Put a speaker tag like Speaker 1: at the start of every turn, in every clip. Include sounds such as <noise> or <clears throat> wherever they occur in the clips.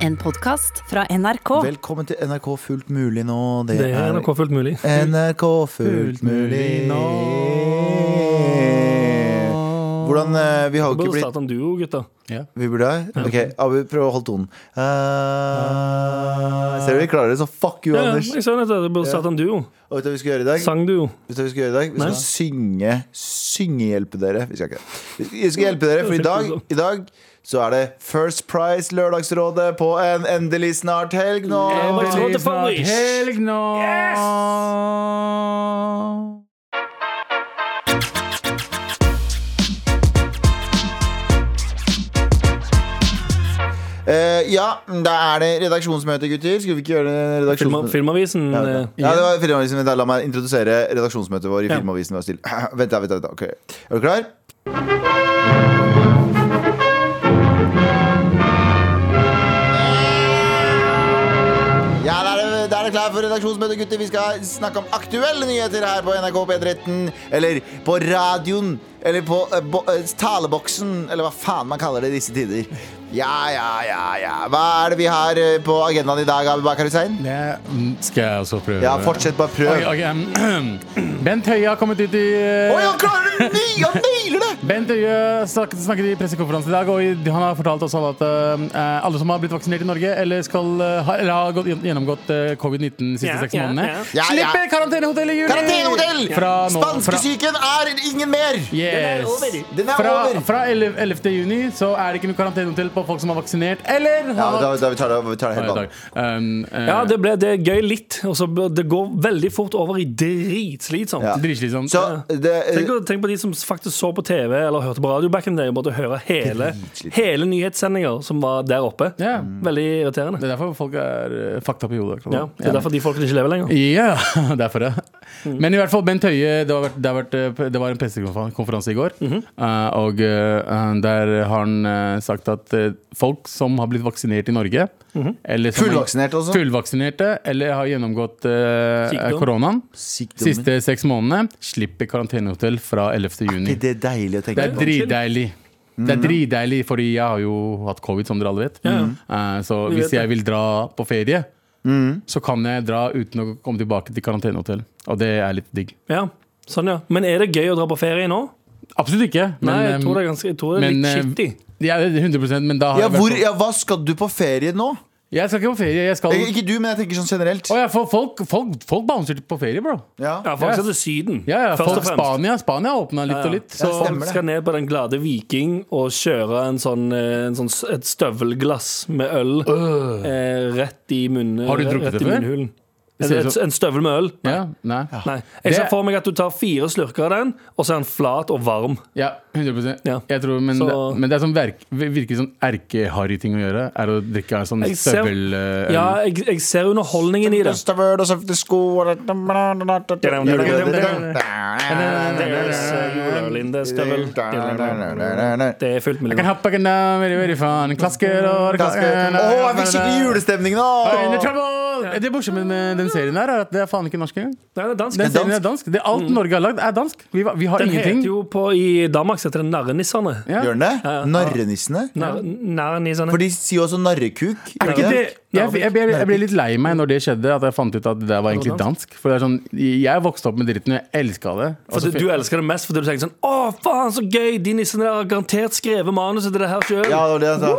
Speaker 1: En podkast fra NRK.
Speaker 2: Velkommen til NRK Fullt mulig nå. Det,
Speaker 3: Det er
Speaker 2: er
Speaker 3: NRK fullt
Speaker 2: <laughs>
Speaker 3: mulig.
Speaker 2: NRK Fullt mulig nå. Hvordan eh, Vi har jo ikke
Speaker 3: Burde
Speaker 2: blitt
Speaker 3: starta en duo, gutta.
Speaker 2: Vi burde ha Ok, Abu, prøv å holde tonen. Eh, ser du vi klarer det, så fuck you,
Speaker 3: Ja, ja,
Speaker 2: Anders.
Speaker 3: jeg sa nettopp det. Burde starta en duo.
Speaker 2: Og vet du hva vi skal gjøre i dag?
Speaker 3: Sangduo.
Speaker 2: Vet du hva Vi skal gjøre i dag? Vi
Speaker 3: Nei.
Speaker 2: skal synge syngehjelpe dere. Vi skal ikke det. Vi skal hjelpe dere, for i dag, i dag så er det First Price Lørdagsrådet på en endelig snart helg nå.
Speaker 3: Endelig. Velkommen til
Speaker 4: snart
Speaker 3: Farris.
Speaker 4: helg nå!
Speaker 2: Eh, ja, da er det redaksjonsmøte, gutter. Skulle vi ikke gjøre det
Speaker 3: Filma-
Speaker 2: redaksjonsmøte?
Speaker 3: Filmavisen.
Speaker 2: Ja,
Speaker 3: eh,
Speaker 2: ja, det var filmavisen. Vent, da, la meg introdusere redaksjonsmøtet vår i
Speaker 3: Ja.
Speaker 2: Filmavisen. Vær stille. <clears throat> Vent, da, vent, da, vent, da. ok. Er du klar? Ja, da er, det, da er det klar for redaksjonsmøte, gutter. Vi skal snakke om aktuelle nyheter her på NRK P13. Eller på radioen. Eller på eh, bo, eh, taleboksen. Eller hva faen man kaller det i disse tider. Ja, ja, ja, ja. Hva er det vi har eh, på agendaen i dag, Abibakar Hussein?
Speaker 4: Det skal jeg også prøve.
Speaker 2: Ja, fortsett, bare prøv.
Speaker 4: Oi, ok, em, Bent Høie har kommet ut i eh,
Speaker 2: Oi, han klarer det! Ny, han nailer det!
Speaker 4: Bent Høie snakket, snakket i pressekonferanse i dag, og i- han har fortalt oss alle at eh, alle som har blitt vaksinert i Norge, eller, skal, eh, ha, eller har gått, gjennomgått eh, covid-19 de siste
Speaker 3: Ja,
Speaker 4: seks
Speaker 3: ja,
Speaker 4: månedene,
Speaker 3: ja.
Speaker 2: Ja, ja.
Speaker 4: slipper karantenehotell i juli!
Speaker 2: Karantenehotell!
Speaker 4: Fra nå, fra,
Speaker 2: Spanskesyken er ingen mer!
Speaker 3: Den er
Speaker 4: yes.
Speaker 3: over.
Speaker 2: Den er
Speaker 4: Fra,
Speaker 2: over!
Speaker 4: fra 11, 11. juni så er det ikke noe karantenehotell på folk som er vaksinert, eller
Speaker 2: Ja,
Speaker 4: har
Speaker 2: da, da, vi tar det, vi tar det helt
Speaker 4: Nei,
Speaker 2: an.
Speaker 4: takk. Um, eh,
Speaker 3: Ja, det, ble, det er gøy litt, og så bør- det går veldig fort over i dritslitsomt.
Speaker 2: Ja.
Speaker 4: Dritslitsomt.
Speaker 2: Så det
Speaker 3: Tenk, på- tenk på de som faktisk så på TV eller hørte på radio back in the day og måtte høre hele,
Speaker 2: Dritslitsomt.
Speaker 3: hele nyhetssendinger som var der oppe.
Speaker 4: Ja.
Speaker 3: Veldig irriterende.
Speaker 4: Det er derfor folk er uh, fucked up i hodet. akkurat nå.
Speaker 3: Ja, det er derfor de folkene ikke lever lenger.
Speaker 4: Ja, <laughs> derfor det. Men i hvert fall, Bent Høie Det, har vært, det, har vært, eh, det var en pressekonferanse i går. eh, og eh, der har han eh, sagt at eh, folk som har blitt vaksinert i Norge eller som har-
Speaker 2: Fullvaksinert også?
Speaker 4: Fullvaksinerte eller har gjennomgått eh,
Speaker 3: Sykdom.
Speaker 4: koronaen
Speaker 2: Sykdommer.
Speaker 4: siste seks månedene, slipper karantenehotell fra 11. juni.
Speaker 2: Er det er deilig å
Speaker 4: Det
Speaker 2: tenke
Speaker 4: er
Speaker 2: på.
Speaker 4: dritdeilig. Det er dritdeilig, fordi jeg har jo hatt covid, som dere alle vet.
Speaker 3: Mm. Ja, ja.
Speaker 4: Eh, Så
Speaker 3: Vi
Speaker 4: hvis
Speaker 3: vet det. Mm.
Speaker 4: jeg vil dra på ferie, så kan jeg dra uten å komme tilbake til karantenehotell. Og det er litt digg.
Speaker 3: Ja, sånn ja. Men er det gøy å dra på ferie nå?
Speaker 4: Absolutt ikke, men,
Speaker 3: Nei, jeg tror det
Speaker 4: eh,
Speaker 3: er, ganske, jeg tror det er
Speaker 4: men,
Speaker 3: litt
Speaker 4: eh,
Speaker 3: skittig.
Speaker 4: ja, det er 100 men da har
Speaker 2: Ja,
Speaker 4: jeg vært
Speaker 2: hvor,
Speaker 4: på-
Speaker 2: ja, hva skal du på ferie nå?
Speaker 4: Jeg skal ikke på ferie. Jeg skal
Speaker 2: Ik- Ikke du, men jeg tenker sånn generelt.
Speaker 4: Å ja, for folk, folk, folk bouncer på ferie, bro.
Speaker 3: Ja,
Speaker 2: Ja.
Speaker 3: folk
Speaker 4: Ja.
Speaker 3: skal til Syden,
Speaker 4: Ja, ja,
Speaker 3: først
Speaker 4: folk,
Speaker 3: og fremst.
Speaker 4: Spania Spania åpna litt og litt.
Speaker 2: Ja,
Speaker 4: Så
Speaker 2: stemmer.
Speaker 3: Folk skal ned på Den glade viking og kjøre en sånn, eh, en sånn, s- et støvelglass med øl eh, rett i munnen.
Speaker 4: Har du drukket
Speaker 3: rett i
Speaker 4: det før?
Speaker 3: munnhulen.
Speaker 4: Det
Speaker 3: En,
Speaker 4: ser ut
Speaker 3: et,
Speaker 4: som-
Speaker 3: en støvel med øl? Nei.
Speaker 4: ja, nei.
Speaker 3: Nei. Jeg ser
Speaker 4: Det-
Speaker 3: for meg at du tar fire slurker av den, og så er den flat og varm.
Speaker 4: Ja, 100
Speaker 3: Ja.
Speaker 4: Jeg tror, men,
Speaker 3: Så-
Speaker 4: det, men det er sånn verk, virkelig sånn erkeharry-ting å gjøre. Er å drikke en sånn
Speaker 3: Jeg ser-
Speaker 4: støveløl.
Speaker 3: Ja, jeg, jeg ser underholdningen i det.
Speaker 2: Støvel og søfte sko og- Gjør du
Speaker 3: Det er Julelinde, eh, støvel.
Speaker 2: det?
Speaker 3: Det er fullt mulig.
Speaker 4: Kan hoppe kan da, very, very fun. Klasker
Speaker 2: Å,
Speaker 4: og
Speaker 2: jeg fikk skikkelig julestemning
Speaker 4: In the
Speaker 2: nå!
Speaker 4: trouble! Det morsomme med den serien her er at det er faen ikke norsk engang.
Speaker 3: Nei, det er dansk.
Speaker 4: Den
Speaker 2: dansk.
Speaker 4: serien er dansk. Det er alt Norge har lagd, er dansk. Vi, va- vi har
Speaker 3: Mm. Den heter
Speaker 4: ingenting.
Speaker 3: jo på, I Danmark så heter den Narrenissene.
Speaker 4: Ja.
Speaker 2: Gjør den det? Narrenissene?
Speaker 3: Nar- Narrenissene.
Speaker 2: For de sier jo også narrekuk.
Speaker 4: Er ikke det, jeg, jeg, ble, jeg ble litt lei meg når det skjedde, at jeg fant ut at det der var egentlig dansk. For det er sånn, Jeg vokste opp med dritten, og jeg elska det. Og
Speaker 3: For
Speaker 4: så
Speaker 3: du, du elsker det mest fordi du tenker sånn Å, faen, så gøy! De nissene der har garantert skrevet manuset til det her sjøl.
Speaker 2: Ja, det var det han sa.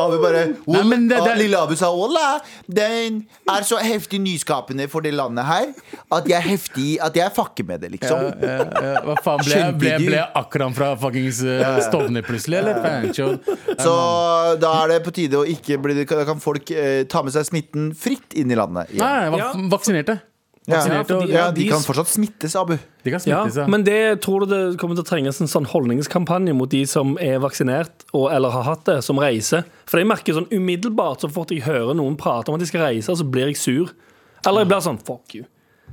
Speaker 2: Abu bare
Speaker 4: Nei, men det-
Speaker 2: Ah,
Speaker 4: det-
Speaker 2: Lille Abu sa Ola, den er så heftig nyskapende for det landet her at jeg er heftig at jeg fucker med det, liksom.
Speaker 4: Ja, ja, Eh, Hva faen, ble jeg,
Speaker 2: Skjønte
Speaker 4: ble,
Speaker 2: du?
Speaker 4: ble jeg akkurat fra fuckings eh, Stovner plutselig, eller? Fancho.
Speaker 2: Så da er det på tide å ikke bli Da kan folk eh, ta med seg smitten fritt inn i landet.
Speaker 4: Nei,
Speaker 2: igjen.
Speaker 4: jeg var
Speaker 3: Ja.
Speaker 4: vaksinerte.
Speaker 2: Ja,
Speaker 4: Vaksinerte og
Speaker 2: ja, de kan fortsatt smittes, Abu.
Speaker 4: De kan
Speaker 3: Ja,
Speaker 4: smitte seg.
Speaker 3: men det tror du det kommer til å trenges en sånn holdningskampanje mot de som er vaksinert og, eller har hatt det, som reiser. For jeg merker sånn umiddelbart så fort jeg hører noen prate om at de skal reise, så blir jeg sur. Eller jeg blir sånn fuck you.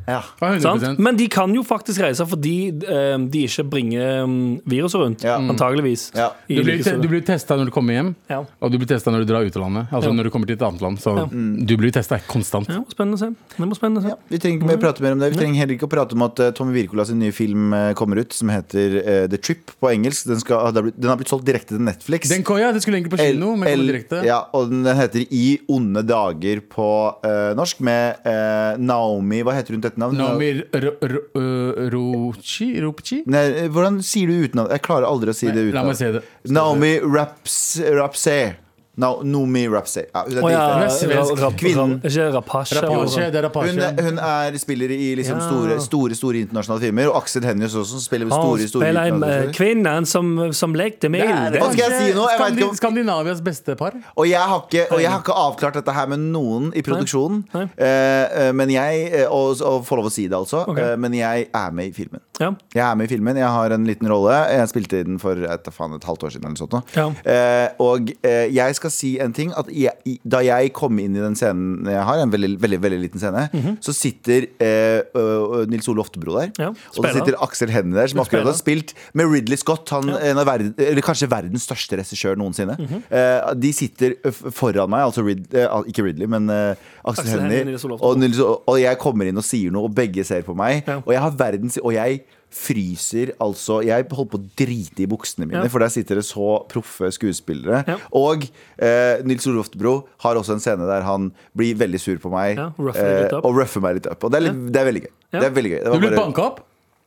Speaker 2: Ja.
Speaker 4: Ja, 100
Speaker 3: Sant? Men de kan jo faktisk reise fordi eh, de ikke bringer mm, viruset rundt.
Speaker 2: Ja.
Speaker 3: Antageligvis.
Speaker 2: Ja.
Speaker 3: I
Speaker 4: Du blir,
Speaker 3: likeså-
Speaker 4: te- du blir testa når du kommer hjem,
Speaker 3: Ja.
Speaker 4: og du blir testa når du drar ut av landet. Altså
Speaker 3: Ja.
Speaker 4: når du kommer til et annet land. Så
Speaker 2: Mm.
Speaker 4: du blir testa konstant.
Speaker 3: ja, spennende å se. Det var spennende å se.
Speaker 2: Ja, vi trenger ikke
Speaker 4: Mm.
Speaker 2: mer prate mer om det. Vi trenger heller ikke å prate om at eh, Tommy Wirkola sin nye film eh, kommer ut, som heter eh, The Trip på engelsk. Den, skal, den har blitt- den har blitt solgt direkte til Netflix.
Speaker 4: Den koja, det skulle egentlig på kino, men
Speaker 2: L-
Speaker 4: kom
Speaker 2: L-
Speaker 4: direkte.
Speaker 2: Ja, og den den heter I onde dager på eh, norsk, med eh, Naomi Hva heter hun til etternavn?
Speaker 4: Naomi R- R- R- Rochi? Ropchi?
Speaker 2: Nei, eh, hvordan sier du utenavn? Jeg klarer aldri å si det
Speaker 4: La
Speaker 2: utenavn.
Speaker 4: meg se det.
Speaker 2: Naomi Raps, Rapsay. Na, Nomi Rapsay. Ja, hun er
Speaker 3: Å ja, eh,
Speaker 2: dritfett.
Speaker 4: Hun er svensk.
Speaker 3: ra- ra-
Speaker 2: Kvinnen.
Speaker 3: ra- Ikke altså. Rapace.
Speaker 4: Rapace, det er
Speaker 2: Hun,
Speaker 4: Rapace.
Speaker 2: hun er spiller i liksom
Speaker 3: Ja.
Speaker 2: store, store store internasjonale filmer. Og Aksel Hennie også, som spiller store, store
Speaker 3: eh,
Speaker 4: altså.
Speaker 2: internasjonale filmer.
Speaker 3: kvinnen som, som lekte med
Speaker 2: det. Hva
Speaker 3: ilden.
Speaker 2: skal jeg si nå? Jeg vet ikke om-
Speaker 4: Skandinavias beste par.
Speaker 2: Og jeg, har ikke, og jeg har ikke avklart dette her med noen i produksjonen.
Speaker 3: Nei.
Speaker 2: Eh, eh, men jeg, eh, og, og får lov å si det, altså.
Speaker 3: Ok.
Speaker 2: eh, men jeg er med i filmen.
Speaker 3: Ja.
Speaker 2: Jeg er med i filmen, jeg har en liten rolle. Jeg spilte i den for jeg vet da faen, et halvt år siden. Eller sånt, nå.
Speaker 3: Ja.
Speaker 2: Eh, og eh, jeg skal si en ting. At jeg, i- da jeg kom inn i den scenen jeg har, en veldig veldig, veldig liten scene, så sitter eh, ø, ø, Nils Ole Oftebro der.
Speaker 3: Mhm. Ja,
Speaker 2: og så
Speaker 3: spiller.
Speaker 2: sitter Aksel Hennie der, som akkurat
Speaker 3: Spiller.
Speaker 2: har spilt med Ridley Scott. Han, en av verden, eller kanskje verdens største regissør noensinne.
Speaker 3: Mhm.
Speaker 2: Eh, de sitter ø, f- foran meg, altså Rid, eh, al- ikke Ridley, men eh, Aksel,
Speaker 3: Aksel Hennie,
Speaker 2: Hennie.
Speaker 3: Nils Ole Oftebro.
Speaker 2: Og, Nils- liksom, og jeg kommer inn og sier noe, og begge ser på meg.
Speaker 3: Ja.
Speaker 2: Og jeg har verdens Og jeg fryser, altså. Jeg holdt på å drite i buksene mine,
Speaker 3: Ja.
Speaker 2: for der sitter det så proffe skuespillere.
Speaker 3: Ja.
Speaker 2: Og eh, Nils Olof Oftebro har også en scene der han blir veldig sur på meg eh,
Speaker 3: Ja, rougher deg litt opp.
Speaker 2: og rougher meg litt opp. Og det er, litt, det er veldig gøy.
Speaker 3: Ja.
Speaker 2: Det er veldig gøy. Det
Speaker 4: Du
Speaker 2: var
Speaker 4: ble
Speaker 2: bare,
Speaker 4: banka opp?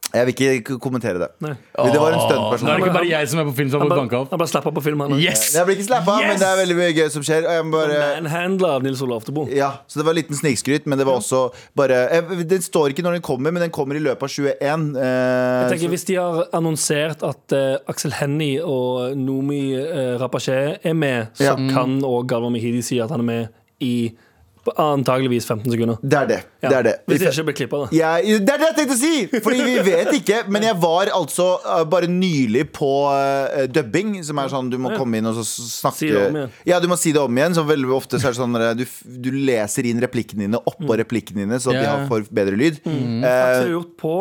Speaker 2: jeg vil ikke k- kommentere det.
Speaker 3: Nei.
Speaker 2: Men Det var en
Speaker 4: Nå er det
Speaker 2: stuntperson.
Speaker 4: ikke bare jeg som er på film som har
Speaker 3: Han
Speaker 4: fått
Speaker 3: bare,
Speaker 4: banka opp.
Speaker 3: han bare slapp av på filmen. han.
Speaker 4: Yes!
Speaker 2: Jeg blir ikke slappa, men
Speaker 4: Yes!
Speaker 2: det er veldig mye gøy som skjer. Og jeg må bare
Speaker 3: Manhandler av Nils Ole Oftebro.
Speaker 2: Ja, så det var en liten snikskryt, men det var også bare jeg, Den står ikke når den kommer, men den kommer i løpet av 21. Eh,
Speaker 3: Jeg tenker Hvis de har annonsert at eh, Aksel Hennie og Nomi uh, Rapace er med, så
Speaker 2: Ja.
Speaker 3: kan òg Galvan Mehidi si at han er med i antageligvis 15 sekunder.
Speaker 2: så, det er det.
Speaker 3: Ja.
Speaker 2: det, er det.
Speaker 3: Hvis det ikke blir klippa, da.
Speaker 2: Jeg, det er det jeg tenkte å si! Fordi vi vet ikke.
Speaker 3: <laughs>
Speaker 2: Men jeg var altså eh, bare nylig på eh, dubbing, som er sånn du må komme inn og så s- snakke
Speaker 3: Si det om igjen.
Speaker 2: Ja, du må si det om igjen. Så veldig ofte så er det sånn eh, du, f- du leser inn replikkene dine
Speaker 3: Mm.
Speaker 2: oppå replikkene dine, så at de
Speaker 4: Ja.
Speaker 2: har for bedre lyd.
Speaker 3: Aksel
Speaker 2: Eh,
Speaker 3: har gjort på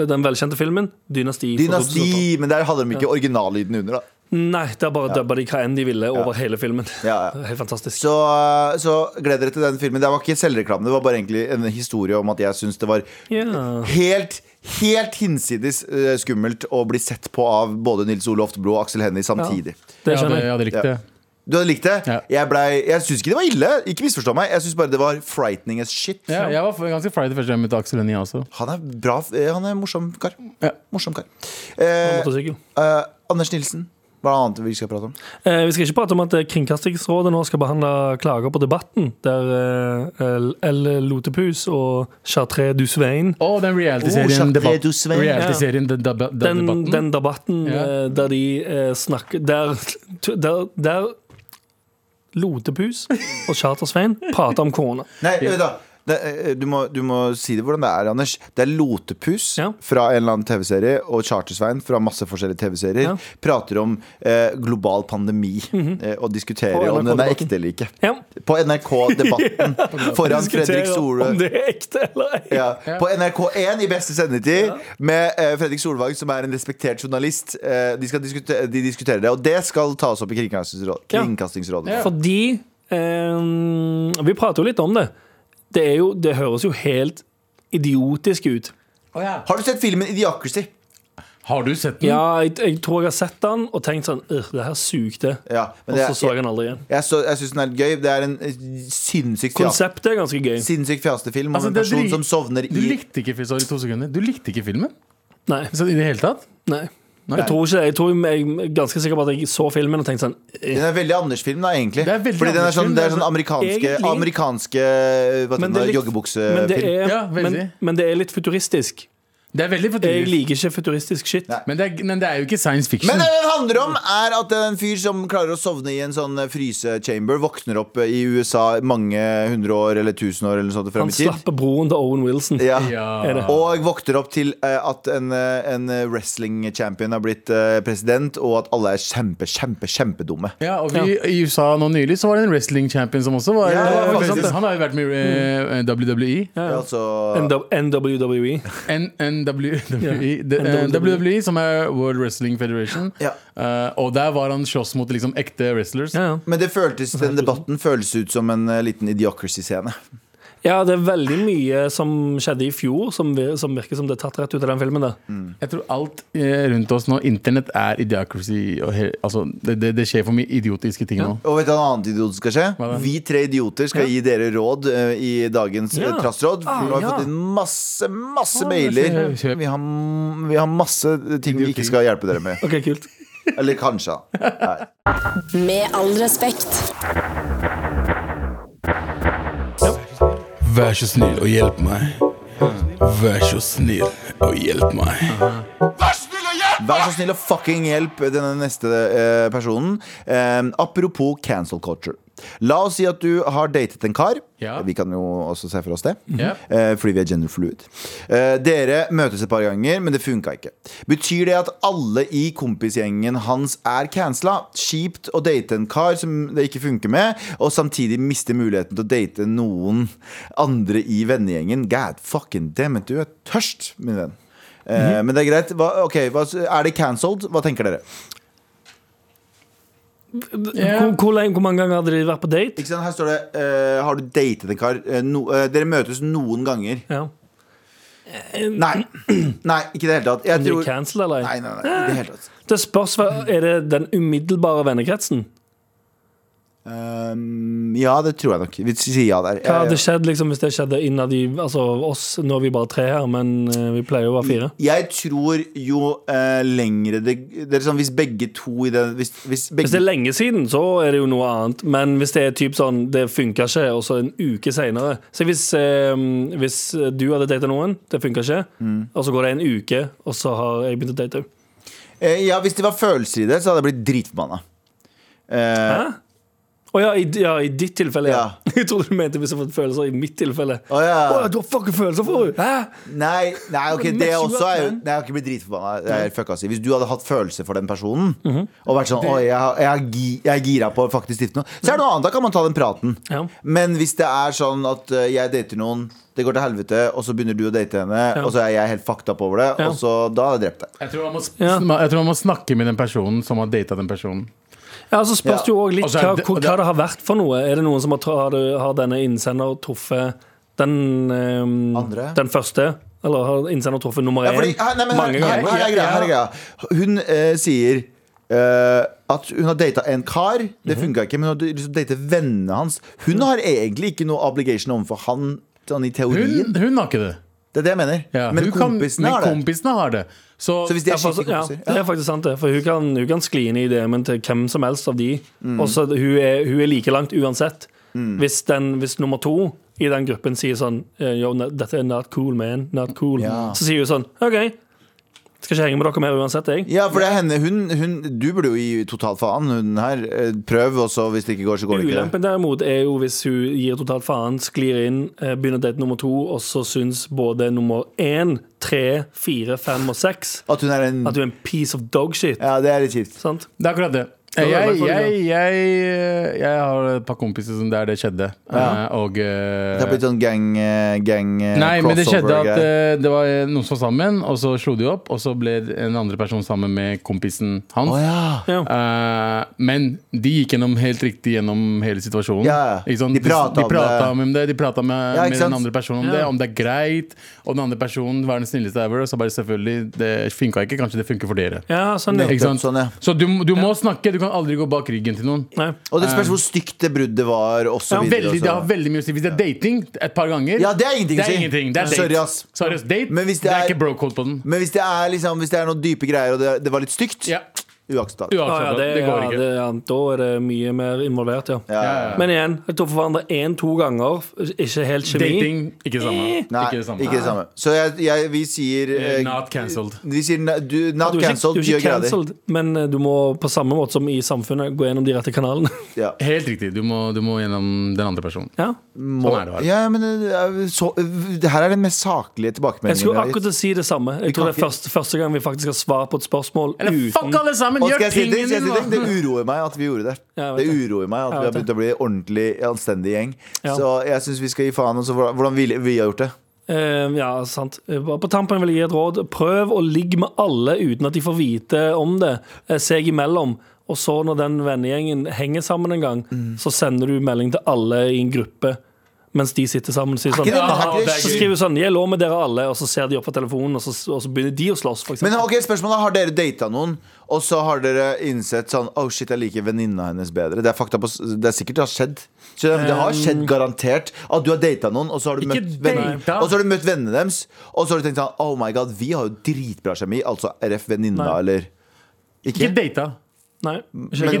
Speaker 3: eh, den velkjente filmen Dynasti. fra 2012.
Speaker 2: dynasti, men der hadde de ikke originallyden under, da.
Speaker 3: Nei, der bare dubba de hva enn de ville over hele filmen.
Speaker 2: Ja, ja.
Speaker 3: <laughs> Helt fantastisk.
Speaker 2: Så, eh, så gleder dere til den filmen. Det var ikke selvreklame, det var bare egentlig en historie om at jeg syns det var
Speaker 3: Ja.
Speaker 2: helt Helt hinsides eh, skummelt å bli sett på av både Nils Ole Oftebro og Aksel Hennie samtidig.
Speaker 3: Det
Speaker 4: Ja, det,
Speaker 3: skjønner jeg.
Speaker 4: ja, det likte jeg.
Speaker 2: Du hadde likt det?
Speaker 4: Ja.
Speaker 2: Jeg, ble, jeg syns ikke det var ille. Ikke misforstå meg. Jeg syns bare det var frightening as shit.
Speaker 4: Ja, jeg var ganske fly det første gang jeg møtte Aksel Hennie også.
Speaker 2: Han er bra eh, Han er en morsom kar.
Speaker 4: Ja.
Speaker 2: Morsom kar. Eh,
Speaker 3: Motorsykkel.
Speaker 2: eh, Anders Nilsen. Hva er det annet vi skal prate om?
Speaker 3: Eh, vi skal ikke prate om at eh, Kringkastingsrådet nå skal behandle klager på Debatten, der eh, L. L. Lotepus og Chartré du Svein
Speaker 4: Å, den
Speaker 2: Oh,
Speaker 4: reality-serien
Speaker 2: Jacques
Speaker 4: Debatt-
Speaker 2: Redu Svein.
Speaker 4: reality-serien Den dab- dab-
Speaker 3: den,
Speaker 4: debatten.
Speaker 3: den debatten
Speaker 4: Ja.
Speaker 3: eh, der de eh, snakker Der, der, der Lotepus og Charter-Svein prater om korona.
Speaker 2: Nei, vent da. Det, eh, du, må, du må si det hvordan det er, Anders. Det er Lotepus
Speaker 3: Ja.
Speaker 2: fra en eller annen TV-serie og Chartersvein fra masse forskjellige TV-serier.
Speaker 3: Ja. Mhm.
Speaker 2: Prater om eh, global pandemi eh, og
Speaker 3: På
Speaker 2: diskuterer om den er
Speaker 3: NRK-debatten.
Speaker 2: ekte eller ikke.
Speaker 3: Ja.
Speaker 2: På
Speaker 3: <laughs>
Speaker 2: NRK-debatten foran Fredrik
Speaker 3: Diskuterer Om
Speaker 2: Solvang.
Speaker 3: det er ekte eller ei.
Speaker 2: Ja. På NRK1 i beste sendetid med eh, Fredrik Solvang, som er en respektert journalist. Eh, de, skal diskute de diskuterer det, og det skal tas opp i Kringkastingsrådet.
Speaker 3: Ja.
Speaker 2: Kringkastingsrådet.
Speaker 4: Ja.
Speaker 3: Fordi eh, Vi prater jo litt om det. Det, er jo, det høres jo helt idiotisk ut.
Speaker 4: Å, ja.
Speaker 2: Har du sett filmen Idiocracy?
Speaker 4: Har du
Speaker 2: Mm.
Speaker 4: sett den?
Speaker 3: Ja, jeg, jeg tror jeg har sett den og tenkt sånn «Ugh, Det her sugde.
Speaker 2: Ja, men
Speaker 3: Og
Speaker 2: det
Speaker 3: så
Speaker 2: er-
Speaker 3: så jeg den aldri igjen.
Speaker 2: Jeg, så- jeg syns den er litt gøy. Det er en eh, sinnssykt fjas-
Speaker 3: Konseptet er ganske gøy.
Speaker 2: sinnssykt fjastefilm om
Speaker 4: Altså,
Speaker 2: en
Speaker 4: det er
Speaker 2: person
Speaker 4: drit-
Speaker 2: som sovner
Speaker 4: Du
Speaker 2: i
Speaker 4: likte ikke, sorry, to sekunder. Du likte ikke filmen?
Speaker 3: Nei.
Speaker 4: Så, Sånn, I det hele tatt?
Speaker 3: nei. Jeg tror ikke det. Jeg, tror jeg er ganske sikker på at jeg så filmen og tenkte sånn
Speaker 2: Den er veldig Anders-film, da, egentlig.
Speaker 4: Det er veldig
Speaker 2: Fordi den er sånn,
Speaker 4: Anders-film,
Speaker 2: det er
Speaker 4: det er
Speaker 2: sånn amerikanske,
Speaker 3: altså Egentlig.
Speaker 2: amerikanske eh, hva heter
Speaker 3: Men det
Speaker 2: den da,
Speaker 3: er litt- Men det
Speaker 2: eh, joggebuksefilm.
Speaker 3: er,
Speaker 4: Ja, veldig.
Speaker 3: men, men det er litt futuristisk.
Speaker 4: Det er veldig
Speaker 3: Jeg
Speaker 4: futuristisk.
Speaker 3: liker ikke futuristisk shit.
Speaker 2: Nei.
Speaker 4: Men, det er- men det er jo ikke science fiction.
Speaker 2: Men eh, det det handler om er at en fyr som klarer å sovne i en sånn frysechamber, våkner opp eh, i USA mange hundre år eller tusen år eller sånt frem
Speaker 3: Han
Speaker 2: i tid.
Speaker 3: slapper broen til Owen Wilson.
Speaker 2: Ja.
Speaker 3: Er det.
Speaker 4: ja.
Speaker 2: Og våkner opp til eh, at en, eh, en wrestling-champion har blitt eh, president, og at alle er kjempe, kjempe, kjempedumme.
Speaker 4: Ja, og vi, I USA nå nylig så var det en wrestling champion som også var
Speaker 2: Ja, ja, ja,
Speaker 4: var
Speaker 2: faktisk.
Speaker 4: president. Han har jo vært med i eh, WWE.
Speaker 2: Det er altså
Speaker 3: NW- NWWE.
Speaker 4: N- NW
Speaker 3: Ja,
Speaker 4: det- eh,
Speaker 3: NWE.
Speaker 4: WWE, som er World Wrestling Federation.
Speaker 2: Ja.
Speaker 4: Eh, og der var han slåss mot liksom ekte wrestlers.
Speaker 3: Ja, ja.
Speaker 2: Men det føltes, den debatten føles ut som en eh, liten idiocracy-scene.
Speaker 3: ja, det er veldig mye som skjedde i fjor som, vir som virker som det er tatt rett ut av den filmen. der
Speaker 4: Jeg tror alt eh, rundt oss nå, internett er idiocracy. Og he, altså, det, det, det skjer for mye idiotiske ting nå.
Speaker 2: Og vet du hva en annen idiot skal skje?
Speaker 4: Hva da?
Speaker 2: Vi tre idioter skal gi dere råd eh, i dagens eh,
Speaker 3: Ja.
Speaker 2: trassråd. For
Speaker 3: Ah,
Speaker 2: nå har vi
Speaker 3: ja.
Speaker 2: fått inn masse, masse
Speaker 3: Ah,
Speaker 2: mailer.
Speaker 4: det ser jeg.
Speaker 2: Vi har, vi har masse ting vi ikke skal hjelpe
Speaker 4: <laughs>
Speaker 2: dere med.
Speaker 3: Ok, kult
Speaker 2: Eller kanskje. Nei.
Speaker 1: Med all respekt.
Speaker 5: Vær så snill og hjelp meg. Vær så snill og hjelp meg.
Speaker 2: Vær så snill og fucking hjelp denne neste eh, personen. Eh, apropos cancel culture. La oss si at du har datet en kar.
Speaker 4: Ja.
Speaker 2: Vi kan jo også se for oss det.
Speaker 4: Ja.
Speaker 2: Eh, fordi vi er gender fluid. Eh, dere møtes et par ganger, men det funka ikke. Betyr det at alle i kompisgjengen hans er cancela? Kjipt å date en kar som det ikke funker med, og samtidig miste muligheten til å date noen andre i vennegjengen. God fucking damn it, du er tørst, min venn. Eh, Men det er greit. Hva, ok, hva, er det cancelled? Hva tenker dere?
Speaker 3: hvor, hvor, lenge, hvor mange ganger hadde de vært på date?
Speaker 2: Ikke sant? Her står det eh, Har du datet en kar? Eh, no, eh, dere møtes noen ganger.
Speaker 3: Ja.
Speaker 2: Nei, <clears throat> nei ikke i det hele tatt. Jeg
Speaker 3: Om de
Speaker 2: tror,
Speaker 3: er cancelled eller
Speaker 2: nei,
Speaker 3: ei?
Speaker 2: nei, nei, ikke i det hele tatt.
Speaker 3: Det spørs hva- Er det den umiddelbare vennekretsen?
Speaker 2: Um, ja, det tror jeg nok. Vi sier ja der.
Speaker 3: Hva hadde
Speaker 2: Jeg,
Speaker 3: skjedd liksom, hvis det skjedde innad i altså, oss? Nå er vi bare tre her, men eh, vi pleier jo å være fire.
Speaker 2: jeg tror jo eh, lengre det, det er sånn, Hvis begge to i den Hvis, hvis
Speaker 3: Hvis det
Speaker 2: begge
Speaker 3: er lenge siden, så er det jo noe annet. Men hvis det er typ sånn Det funka ikke, og så en uke seinere Si hvis, eh, hvis du hadde data noen, det funka ikke,
Speaker 2: Mm.
Speaker 3: og så går det en uke, og så har jeg begynt å date henne.
Speaker 2: eh, Ja, hvis det var følelser i det, så hadde jeg blitt dritforbanna. Eh,
Speaker 3: Hæ? Å ja, i, ja, i ditt tilfelle, ja.
Speaker 2: Ja.
Speaker 3: <laughs> Jeg trodde du mente hvis jeg har fått følelser i mitt tilfelle.
Speaker 2: Å, ja.
Speaker 3: Å, du har fucking følelser for henne! Hæ?
Speaker 2: Nei, nei, ok,
Speaker 3: Mess
Speaker 2: det
Speaker 3: you
Speaker 2: også
Speaker 3: up,
Speaker 2: er jo
Speaker 3: man.
Speaker 2: Nei, jeg har ikke blitt dritforbanna. Jeg er fucka, si. Hvis du hadde hatt følelse for den personen,
Speaker 3: Mhm.
Speaker 2: og vært sånn Å, jeg, har- jeg, har gi- jeg er gira på å faktisk stifte noe, så er det noe annet. Da kan man ta den praten.
Speaker 3: Ja.
Speaker 2: Men hvis det er sånn at eh, jeg dater noen, det går til helvete, og så begynner du å date henne, og så er jeg helt fucked up over det,
Speaker 3: Ja.
Speaker 2: og så da har jeg drept deg.
Speaker 4: Jeg, tror man må, s-
Speaker 3: Ja.
Speaker 4: sma- jeg tror man må snakke med den personen som har data den personen.
Speaker 3: Ja, altså
Speaker 2: Ja.
Speaker 3: spørs det jo òg litt
Speaker 4: Altså,
Speaker 3: hva,
Speaker 4: det-
Speaker 3: hva,
Speaker 4: det-
Speaker 3: hva det har vært for noe. Er det noen som har, tra- har, det- har denne innsender truffet den ehm,
Speaker 2: Andre?
Speaker 3: Den første? Eller har innsender truffet nummer
Speaker 2: Ja,
Speaker 3: én
Speaker 2: fordi, her, nei, men,
Speaker 3: mange
Speaker 2: her, her,
Speaker 3: ganger?
Speaker 2: her er greia. Her er greia. Hun eh, sier eh, at hun har data en kar. Det
Speaker 4: Mhm.
Speaker 2: funka ikke, men hun har liksom data vennene hans. Hun har egentlig ikke noe obligation overfor han. Sånn i teorien.
Speaker 4: Hun, hun har ikke det.
Speaker 2: Det er det jeg mener.
Speaker 4: Ja,
Speaker 2: men
Speaker 4: hun kan-
Speaker 2: kompisene
Speaker 4: men
Speaker 2: har det.
Speaker 4: kompisene har det. Så,
Speaker 2: Så hvis de
Speaker 3: Ja,
Speaker 2: er
Speaker 3: for,
Speaker 2: skikkelig
Speaker 3: Altså, ja,
Speaker 2: kompiser
Speaker 3: det er faktisk sant, det. For hun kan, hun kan skli inn i DM-en til hvem som helst av de. Og så hun, er- hun er like langt uansett.
Speaker 2: Mm.
Speaker 3: Hvis, den, hvis nummer to i den gruppen sier sånn eh, Yo, ne- dette er not cool, man. Not cool.
Speaker 2: Ja.
Speaker 3: Så sier hun sånn OK, skal ikke henge med dere mer uansett, jeg.
Speaker 2: Ja, for det er henne hun, hun, Du burde jo gi totalt faen, hun her. Eh, Prøv, og så hvis det ikke går, så går det ikke.
Speaker 3: Ulempen derimot er jo hvis hun gir totalt faen, sklir inn, eh, begynner å date nummer to, og så syns både nummer én, tre, fire, fem og seks
Speaker 2: At hun er en
Speaker 3: at hun er en piece of dogshit.
Speaker 2: Ja, det er litt kjipt.
Speaker 3: Sant?
Speaker 4: Det er akkurat det.
Speaker 3: Ja,
Speaker 4: Jeg,
Speaker 3: det er
Speaker 4: jeg,
Speaker 3: akkurat
Speaker 4: jeg, eh,
Speaker 3: det.
Speaker 4: jeg har et par kompiser som der det skjedde. Eh, Og eh,
Speaker 2: Det har blitt sånn gang, eh, gang eh,
Speaker 4: Nei, men det skjedde at
Speaker 2: crossover-greier.
Speaker 4: eh, det var eh, noen som var sammen, og så slo de opp, og så ble en andre person sammen med kompisen hans.
Speaker 2: Å ja.
Speaker 3: Ja.
Speaker 4: Eh, men de gikk gjennom helt riktig gjennom hele situasjonen.
Speaker 2: Ja, ja.
Speaker 4: Ikke sant?
Speaker 2: De pratet om
Speaker 4: de, de pratet om det. De prata med,
Speaker 2: Ja, ikke
Speaker 4: med
Speaker 2: sant?
Speaker 4: den andre personen om
Speaker 3: Ja.
Speaker 4: det, om det er greit. Og den andre personen var den snilleste ever, og så bare selvfølgelig, det funka ikke. Kanskje det funker for dere.
Speaker 3: Ja, sånn, ja.
Speaker 4: Ikke sant?
Speaker 2: Sånn, ja.
Speaker 4: Så du, du må snakke. Du kan aldri gå bak ryggen til noen.
Speaker 3: Nei.
Speaker 2: Og det spørs hvor stygt det bruddet var, og så
Speaker 4: Eh, Ja,
Speaker 2: videre.
Speaker 4: veldig,
Speaker 2: og så-
Speaker 4: det har veldig mye å si. Hvis det er dating et par ganger
Speaker 2: Ja, det er ingenting å
Speaker 4: det er
Speaker 2: si.
Speaker 4: ingenting. Det er date.
Speaker 2: Sorry, ass.
Speaker 4: Sorry, ass. Date,
Speaker 2: Men hvis det
Speaker 4: det er
Speaker 2: er-
Speaker 4: ikke bro-code på den.
Speaker 2: Men hvis det er, liksom, hvis det er noen dype greier, og det, det var litt stygt,
Speaker 4: Ja.
Speaker 2: Uakseptabelt.
Speaker 3: Ja, ja,
Speaker 4: Uakseptabelt.
Speaker 3: det,
Speaker 4: det går
Speaker 3: ja,
Speaker 4: ikke.
Speaker 3: det, ja, da er det mye mer involvert, ja.
Speaker 2: Ja, ja,
Speaker 4: ja.
Speaker 3: Men igjen, jeg tok for hverandre én-to ganger. Ikke helt kjemi.
Speaker 4: Dating, ikke det samme.
Speaker 3: Eh.
Speaker 2: Nei,
Speaker 4: ikke det samme.
Speaker 2: ikke det samme. Så jeg, jeg, vi sier
Speaker 4: Eh,
Speaker 2: eh,
Speaker 4: Not cancelled.
Speaker 2: Vi sier na- du, not
Speaker 3: Du er ikke, du
Speaker 2: cancelled.
Speaker 3: er ikke
Speaker 2: Gjør grader.
Speaker 3: cancelled, men eh, du må på samme måte som i samfunnet gå gjennom de rette kanalene. <laughs>
Speaker 2: Ja.
Speaker 4: Helt riktig. Du må, du må gjennom den andre personen. Sånn
Speaker 3: Ja.
Speaker 2: Må,
Speaker 4: er det bare.
Speaker 2: ja, men eh, så, det her er den mest saklige
Speaker 3: Jeg
Speaker 2: tilbakemeldingen
Speaker 3: skulle
Speaker 2: har gitt.
Speaker 3: akkurat til å si det samme. Jeg
Speaker 2: kan
Speaker 3: tror det er første, første gang vi faktisk har svar på et spørsmål
Speaker 4: Eller fuck alle sammen!
Speaker 2: Og skal
Speaker 4: Gjør
Speaker 2: jeg si
Speaker 4: tingen
Speaker 2: det, skal jeg
Speaker 4: din!
Speaker 2: si ting?
Speaker 4: da.
Speaker 2: Det uroer meg at vi gjorde det.
Speaker 3: Ja, jeg
Speaker 2: Det
Speaker 3: vet det.
Speaker 2: uroer meg at
Speaker 3: Jeg
Speaker 2: vi har
Speaker 3: vet
Speaker 2: begynt å bli ordentlig anstendig gjeng.
Speaker 3: Ja.
Speaker 2: Så jeg syns vi skal gi faen. Og så hvordan- hvordan vi, vi har gjort det.
Speaker 3: Eh, ja, sant. Eh, Bare på tampen vil jeg gi et råd. Prøv å ligge med alle uten at de får vite om det, eh, seg imellom. Og så når den vennegjengen henger sammen en gang,
Speaker 2: Mm.
Speaker 3: så sender du melding til alle i en gruppe mens de sitter sammen. Og sier sånn,
Speaker 2: ikke det-
Speaker 3: «Ja,
Speaker 2: er ikke det
Speaker 3: så skriver du sånn 'Jeg lå med dere alle', og så ser de opp på telefonen, og så, og så begynner de å slåss, for
Speaker 2: Men
Speaker 3: eksempel.
Speaker 2: ok, spørsmålet er, Har dere data noen, og så har dere innsett sånn Oh shit, jeg liker venninna hennes bedre. Det er, fakta på, s- det er sikkert det har skjedd. Så det, det har
Speaker 3: Um,
Speaker 2: skjedd garantert at du har data noen, og så har du
Speaker 4: Ikke
Speaker 2: møtt vennene
Speaker 4: data.
Speaker 2: Og så har du møtt vennene deres, og så har du tenkt sånn Oh my god, vi har jo dritbra kjemi. Altså RF venninna,
Speaker 3: Nei.
Speaker 2: eller
Speaker 4: Ikke
Speaker 2: Ikke?
Speaker 4: data.
Speaker 3: Nei.
Speaker 4: Ikke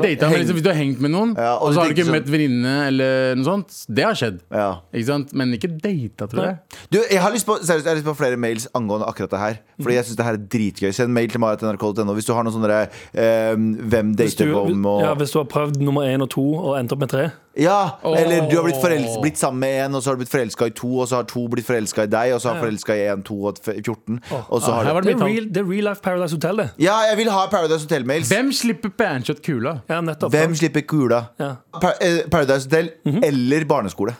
Speaker 2: Men-
Speaker 4: data, men
Speaker 2: heng-
Speaker 4: liksom, Hvis du har hengt med noen,
Speaker 2: Ja, og
Speaker 4: og
Speaker 2: du
Speaker 4: så har du
Speaker 2: tenker
Speaker 4: ikke
Speaker 2: sånn-
Speaker 4: møtt venninne eller noe sånt, det har skjedd.
Speaker 2: Ja.
Speaker 4: Ikke sant? Men ikke data, tror jeg.
Speaker 2: Du, jeg har lyst på, seriøst, jeg har lyst på flere mails angående akkurat det her. Fordi
Speaker 3: Mhm.
Speaker 2: jeg syns det her er dritgøy. Send mail til maratnrk.no hvis du har noen sånne eh, Hvem
Speaker 3: Hvis du,
Speaker 2: dater hvem og
Speaker 3: ja, hvis du har prøvd nummer én og to og endt opp med tre.
Speaker 2: Ja,
Speaker 4: Åh.
Speaker 2: eller du har blitt, forels- blitt sammen med en, og så har du blitt forelska i to, og så har to blitt forelska i deg, og så har forelska i en, to og f- 14. Og så
Speaker 4: Ah,
Speaker 2: har
Speaker 4: her
Speaker 2: du
Speaker 4: var
Speaker 3: Det
Speaker 4: det
Speaker 3: er
Speaker 4: mitt
Speaker 3: real, det er real life Paradise Hotel, det.
Speaker 2: Ja, jeg vil ha Paradise Hotel-mails.
Speaker 4: Hvem slipper banshot kula?
Speaker 3: Ja, nettopp.
Speaker 2: Hvem slipper kula?
Speaker 3: Ja.
Speaker 2: Pa eh, Paradise Hotel eller barneskole.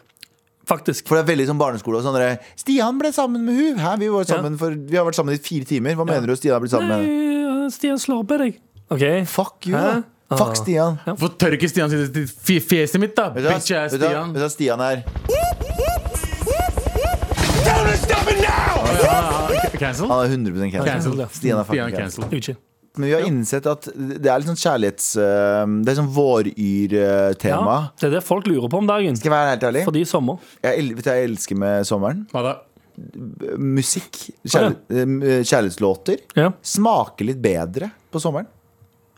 Speaker 3: Faktisk.
Speaker 2: For det er veldig sånn barneskole og sånn der, Stian ble sammen med hun Hæ, vi, var sammen
Speaker 3: Ja.
Speaker 2: for, vi har vært sammen i fire timer. Hva mener du Stian har blitt sammen med?
Speaker 3: Nei, øh, Stian slår på deg. OK.
Speaker 2: Fuck you,
Speaker 3: Hæ?
Speaker 2: da. Fuck
Speaker 3: Ah.
Speaker 2: Stian.
Speaker 4: Hvorfor tør ikke Stian sitte til fj- fjeset mitt, da?
Speaker 2: Vet du hva-
Speaker 4: Bitch ass
Speaker 2: vet du hva-
Speaker 4: Stian.
Speaker 2: Vet du hva Stian er?
Speaker 4: Ah, Cancel?
Speaker 2: Han er 100 cancelled.
Speaker 4: Cancel.
Speaker 2: Stian er fucking cancelled.
Speaker 4: cancel.
Speaker 3: Uchi.
Speaker 2: Men vi har innsett at det er litt sånn kjærlighets... eh, Det er sånn våryr-tema.
Speaker 3: Ja, det er det folk lurer på om dagen.
Speaker 2: Skal jeg være helt ærlig?
Speaker 3: Fordi sommer.
Speaker 2: Jeg, el- vet du hva jeg elsker med sommeren?
Speaker 4: Hva da?
Speaker 2: Musikk. Kjærl eh, Kjærlighetslåter.
Speaker 3: Ja,
Speaker 2: Smaker litt bedre på sommeren.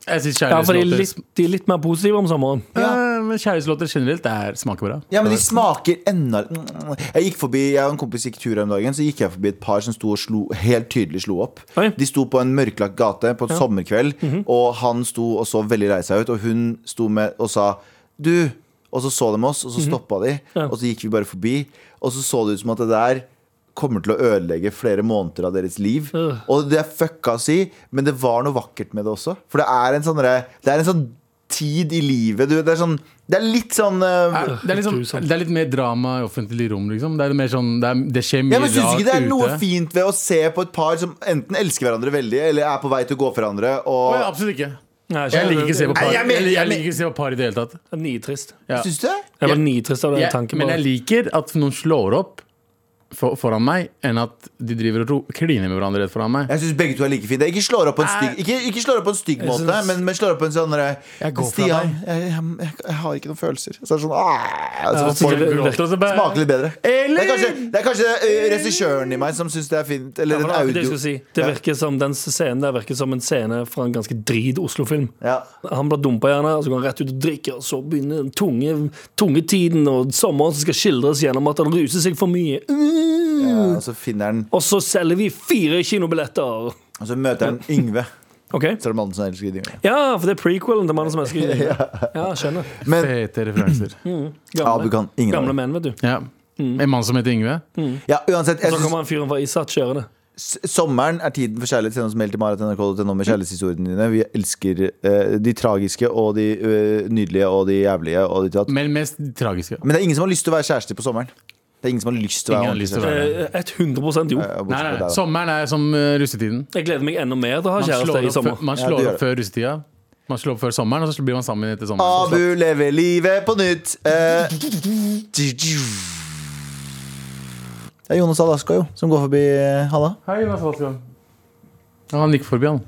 Speaker 4: Jeg syns
Speaker 3: ja for de er,
Speaker 4: kjærlighetslåter
Speaker 3: litt, de er litt mer positive om sommeren.
Speaker 4: Ja, men Kjærlighetslåter generelt det er, smaker bra.
Speaker 2: Ja, men de smaker enda Jeg gikk forbi, jeg og en kompis gikk tur her om dagen Så gikk jeg forbi et par som sto og slo, helt tydelig slo opp
Speaker 3: Oi.
Speaker 2: De sto på en mørklagt gate på en sommerkveld Og han sto og så veldig lei seg ut Og hun sto med og sa Du, og så så de oss, og så stoppa de
Speaker 3: Ja.
Speaker 2: Og så gikk vi bare forbi Og så så det ut som at det der kommer til å ødelegge flere måneder av deres liv
Speaker 3: Øh.
Speaker 2: Og det er fucka å si Men det var noe vakkert med det også For det er en sånn, derre- det er en sånn tid i livet du, det, er sånn, det er litt sånn eh,
Speaker 4: Er, det, er liksom,
Speaker 3: Grusomt.
Speaker 4: det er litt mer drama i offentlig rom, liksom. Det, er mer sånn, det, er, det skjer mye
Speaker 2: Ja, men synes ikke det er
Speaker 4: rart
Speaker 2: noe
Speaker 4: ute.
Speaker 2: fint ved å se på et par som enten elsker hverandre veldig, eller er på vei til å gå for hverandre? Og...
Speaker 4: Å, ja, absolutt ikke.
Speaker 3: Nei,
Speaker 4: Jeg liker ikke å se på par.
Speaker 2: Nei, jeg mener- jeg
Speaker 4: Jeg, jeg
Speaker 2: mener-
Speaker 4: liker ikke å se på par i det hele tatt.
Speaker 3: Det er Nitrist.
Speaker 4: Ja.
Speaker 2: Syns du det?
Speaker 3: Jeg var
Speaker 4: Ja.
Speaker 3: nitrist av den
Speaker 4: Jeg,
Speaker 3: tanken.
Speaker 4: men
Speaker 3: på-
Speaker 4: jeg liker at noen slår opp for, foran meg, enn at de driver og ro- kliner med hverandre rett foran meg.
Speaker 2: Jeg syns begge to er like fine. Ikke slår opp på en stygg, ikke, ikke slår opp på en stygg
Speaker 3: Jeg
Speaker 2: måte,
Speaker 3: synes-
Speaker 2: men, men slår opp på en sånn derre
Speaker 4: Jeg går fra
Speaker 2: Stian,
Speaker 4: deg."
Speaker 2: jeg, jeg, jeg, har ikke noen følelser. Så er det sånn «Ah!»
Speaker 3: Ja,
Speaker 2: altså,
Speaker 3: så
Speaker 2: folk
Speaker 3: det- det-
Speaker 4: Gråter, og så bare-
Speaker 2: Smaker litt bedre. Det
Speaker 4: Eller
Speaker 2: er kanskje, det er kanskje eh, regissøren i meg som syns det er fint.
Speaker 3: Ja,
Speaker 2: Eller den
Speaker 3: men det var akkurat det jeg
Speaker 2: audio...
Speaker 3: skulle si. Det virker som Den scenen der virker som en scene fra en ganske drit Oslo-film.
Speaker 2: Ja.
Speaker 3: Han blir dumpa, gjerne, og så går han rett ut og drikker, og så begynner den tunge, tunge tiden og sommeren som skal skildres gjennom at han ruser seg for mye.
Speaker 2: Ja, og så finner han
Speaker 3: Og så selger vi fire kinobilletter!
Speaker 2: Og så møter han Yngve.
Speaker 3: OK?
Speaker 2: Så er det mannen som elsker Yngve.
Speaker 3: Ja, for det er prequelen til mannen som elsker
Speaker 2: <laughs>
Speaker 3: Gud. Ja, jeg skjønner.
Speaker 2: Men
Speaker 4: Fete referanser.
Speaker 3: Mm.
Speaker 2: Abu kan ingen av
Speaker 3: gamle
Speaker 2: dem.
Speaker 3: menn, vet du.
Speaker 4: Ja.
Speaker 3: Mm.
Speaker 4: En mann som heter Yngve.
Speaker 2: Ja, uansett, jeg
Speaker 3: Så
Speaker 2: synes-
Speaker 3: kommer han fyren fra Isat kjørende.
Speaker 2: S- Sommeren er tiden for kjærlighet. Send oss mail til maratnrk.no med kjærlighetshistoriene dine. Vi elsker eh, de tragiske og de eh, nydelige og de jævlige. Og de tatt.
Speaker 4: Men mest tragiske.
Speaker 2: Men det er ingen som har lyst til å være kjærester på sommeren. Det er ingen som har lyst til å
Speaker 4: Ingen
Speaker 2: være
Speaker 4: har lyst til å
Speaker 2: ordentlig
Speaker 4: være det.
Speaker 3: Eh, 100 jo.
Speaker 2: kjærester. Ja,
Speaker 4: Nei,
Speaker 2: bortsett
Speaker 4: nei,
Speaker 2: fra
Speaker 4: nei.
Speaker 2: deg, da.
Speaker 4: Sommeren er som eh, russetiden.
Speaker 3: Jeg gleder meg enda mer til å ha
Speaker 4: Man
Speaker 3: kjæreste
Speaker 4: slår
Speaker 3: i
Speaker 4: opp, før-
Speaker 3: sommer.
Speaker 2: Ja,
Speaker 4: man
Speaker 2: det Ah,
Speaker 4: slår
Speaker 2: gjør
Speaker 4: opp før russetida. Man slår opp før sommeren, og så blir man sammen etter sommeren.
Speaker 2: Abu lever livet på nytt. Eh, det er Jonas Alaska jo, som går forbi eh, Halla.
Speaker 4: Hei, Jonas Holsgaard. Ja, han gikk forbi, han.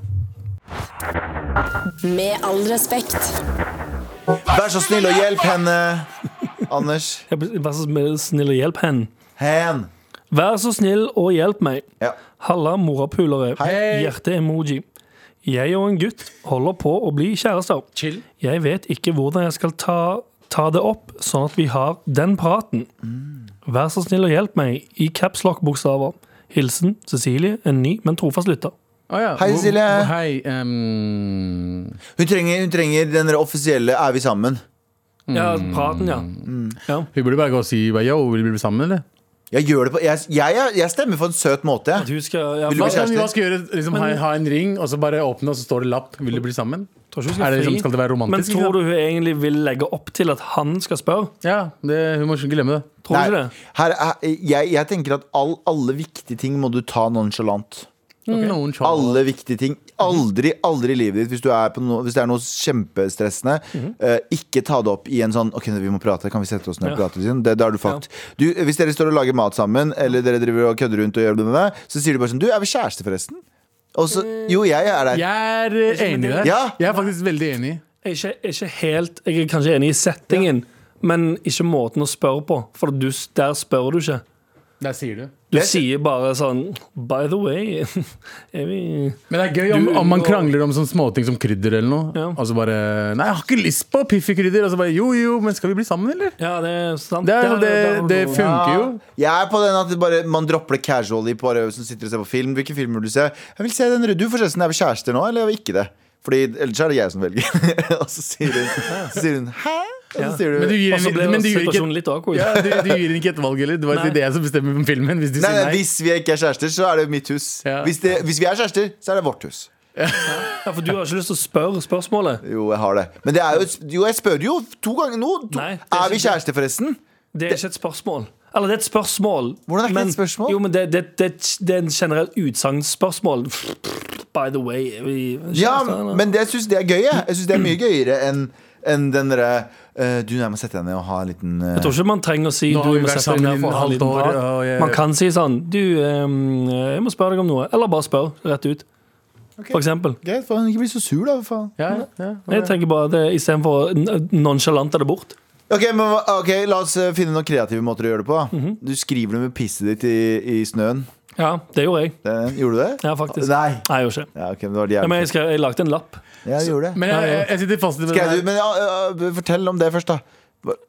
Speaker 1: Med all respekt.
Speaker 2: Vær så snill og hjelp henne, Anders.
Speaker 3: Jeg blir- Vær så snill- snill og hjelp hen.
Speaker 2: Hen.
Speaker 3: Vær så snill og hjelp meg.
Speaker 2: Ja.
Speaker 3: Halla, morapulere.
Speaker 2: Hei.
Speaker 3: Hjerte-emoji. Jeg og en gutt holder på å bli kjærester.
Speaker 4: Chill.
Speaker 3: Jeg vet ikke hvordan jeg skal ta, ta det opp, sånn at vi har den praten.
Speaker 4: Mm.
Speaker 3: Vær så snill og hjelp meg i capslock-bokstaver. Hilsen Cecilie, en ny, men trofast lytter.
Speaker 4: Å Ah, ja.
Speaker 2: Hei,
Speaker 4: hvor-
Speaker 2: Silje.
Speaker 4: hvor- Hei. ehm,
Speaker 2: Hun trenger, hun trenger den der offisielle 'er vi sammen'?
Speaker 3: Ja, praten, ja.
Speaker 4: Mm.
Speaker 3: ja.
Speaker 4: hun burde bare gå og si bare, yo, vil vi bli sammen, eller?
Speaker 2: Jeg gjør det på Jeg, jeg, jeg stemmer for en søt måte.
Speaker 3: At
Speaker 2: jeg.
Speaker 3: hun skal ja,
Speaker 2: Vil du bli
Speaker 3: Jeg
Speaker 4: Hva skal
Speaker 2: kjærester?
Speaker 4: hva skal jeg gjøre? Liksom, ha, ha en ring, og så bare åpne, og så står det lapp. Vil du bli sammen?
Speaker 3: tror ikke hun
Speaker 4: Er
Speaker 3: skal
Speaker 4: det liksom,
Speaker 3: fri.
Speaker 4: skal det være
Speaker 3: Men
Speaker 4: romantisk?
Speaker 3: tror
Speaker 4: liksom?
Speaker 3: du hun egentlig vil legge opp til at han skal spørre?
Speaker 4: Ja, det, Hun må ikke glemme det.
Speaker 3: Tror du ikke det?
Speaker 2: her, er- jeg, jeg tenker at all, alle viktige ting må du ta nonchalant.
Speaker 4: Noen sjal-
Speaker 2: Alle viktige ting. Aldri, aldri i livet ditt, hvis, du er på noe, hvis det er noe kjempestressende, eh, ikke ta det opp i en sånn Ok, vi må prate, kan vi sette oss ned og
Speaker 3: Ja.
Speaker 2: prate? Liksom? Det, da er du fucked. Du, hvis dere står og lager mat sammen, eller dere driver og kødder rundt og gjør det med det, så sier du bare sånn Du, er vi kjærester, forresten? Og så Jo, jeg er der.
Speaker 4: Jeg er eh, enig i det.
Speaker 2: Ja.
Speaker 4: Jeg er faktisk veldig enig.
Speaker 3: Jeg er ikke, ikke helt Jeg er kanskje enig i settingen, men ikke måten å spørre på. For du, der spør du ikke.
Speaker 4: Der sier du.
Speaker 3: Du
Speaker 2: Jeg-
Speaker 3: sier bare sånn By the way, <laughs> er vi
Speaker 4: Men det er gøy om,
Speaker 3: Du-
Speaker 4: om man krangler om sånne småting som krydder eller noe.
Speaker 3: Ja.
Speaker 4: Og så bare Nei, jeg har ikke lyst på piffikrydder. Og så bare jo, jo, men skal vi bli sammen, eller?
Speaker 3: Ja, det er sant.
Speaker 4: Det, er,
Speaker 3: Der-
Speaker 4: det,
Speaker 3: der har
Speaker 4: det
Speaker 3: du-
Speaker 4: funker jo.
Speaker 2: Jeg er på den at det bare, man dropper det casually på bare som sitter og ser på film. Hvilke filmer vil du se? Jeg vil se den røde. Du forresten, er vi kjærester nå, eller er vi ikke det? Fordi ellers er det jeg som velger. <laughs> og så sier hun, så sier hun hæ? Og så
Speaker 3: Ja.
Speaker 2: sier du
Speaker 4: Men du gir
Speaker 3: Og så
Speaker 4: henne
Speaker 3: ble
Speaker 4: men du gir ikke
Speaker 3: situasjonen litt awkward.
Speaker 4: ja, du, du gir henne ikke et valg heller. Det var
Speaker 3: Nei.
Speaker 4: det er jeg som bestemmer om filmen. Hvis du
Speaker 2: Nei, nei,
Speaker 4: sier nei.
Speaker 2: hvis vi ikke er kjærester, så er det mitt hus.
Speaker 4: Ja.
Speaker 2: Hvis, det, hvis vi er kjærester, så er det vårt hus.
Speaker 3: <laughs> Ja, for du har ikke lyst til å spørre spørsmålet.
Speaker 2: Jo, jeg har det. Men det er jo, jo jeg spør jo to ganger nå. To,
Speaker 3: Nei, det
Speaker 2: er,
Speaker 3: er ikke
Speaker 2: vi kjærester, forresten?
Speaker 3: Det er ikke et spørsmål. Eller det er et spørsmål.
Speaker 2: Hvordan er ikke det
Speaker 3: men-
Speaker 2: et spørsmål?
Speaker 3: Jo, men det, det, det, det er en generell utsagnsspørsmål. By the way er vi
Speaker 2: Ja,
Speaker 3: kjærester, eller?
Speaker 2: men det, jeg syns det er gøy. Jeg, jeg synes det er mye gøyere enn enn den derre eh, Du, jeg må sette deg ned og ha en liten eh,
Speaker 3: Jeg tror ikke man trenger å si
Speaker 4: Nå
Speaker 3: du
Speaker 4: har vi
Speaker 3: må
Speaker 4: vært
Speaker 3: sette deg
Speaker 4: sammen
Speaker 3: ned
Speaker 4: i
Speaker 3: for å ha en
Speaker 4: halvt
Speaker 3: liten
Speaker 4: år,
Speaker 3: prat.
Speaker 4: og jeg-
Speaker 3: Man kan si sånn Du, ehm, jeg må spørre deg om noe. Eller bare spør, rett ut. For eksempel.
Speaker 2: Greit, faen, ikke bli så sur, da. for Faen.
Speaker 4: Ja, ja.
Speaker 3: Jeg tenker bare at det istedenfor å n- nonchalante det bort.
Speaker 2: Ok, men hva- ok, La oss eh, finne noen kreative måter å gjøre det på. da. Du skriver det med pisset ditt i, i snøen.
Speaker 3: Ja, det gjorde jeg.
Speaker 2: Eh, gjorde du det?
Speaker 3: Ja, faktisk.
Speaker 2: Nei.
Speaker 3: Nei, jeg gjorde ikke det.
Speaker 2: Ja, ok, men det var
Speaker 3: Ja,
Speaker 2: jævlig.
Speaker 3: men jeg, skrev, jeg lagde en lapp.
Speaker 2: Ja, jeg gjorde det.
Speaker 4: Men jeg, jeg, jeg sitter fast i det.
Speaker 2: Skrev du,
Speaker 4: her.
Speaker 2: men ja, ja, Fortell om det først, da.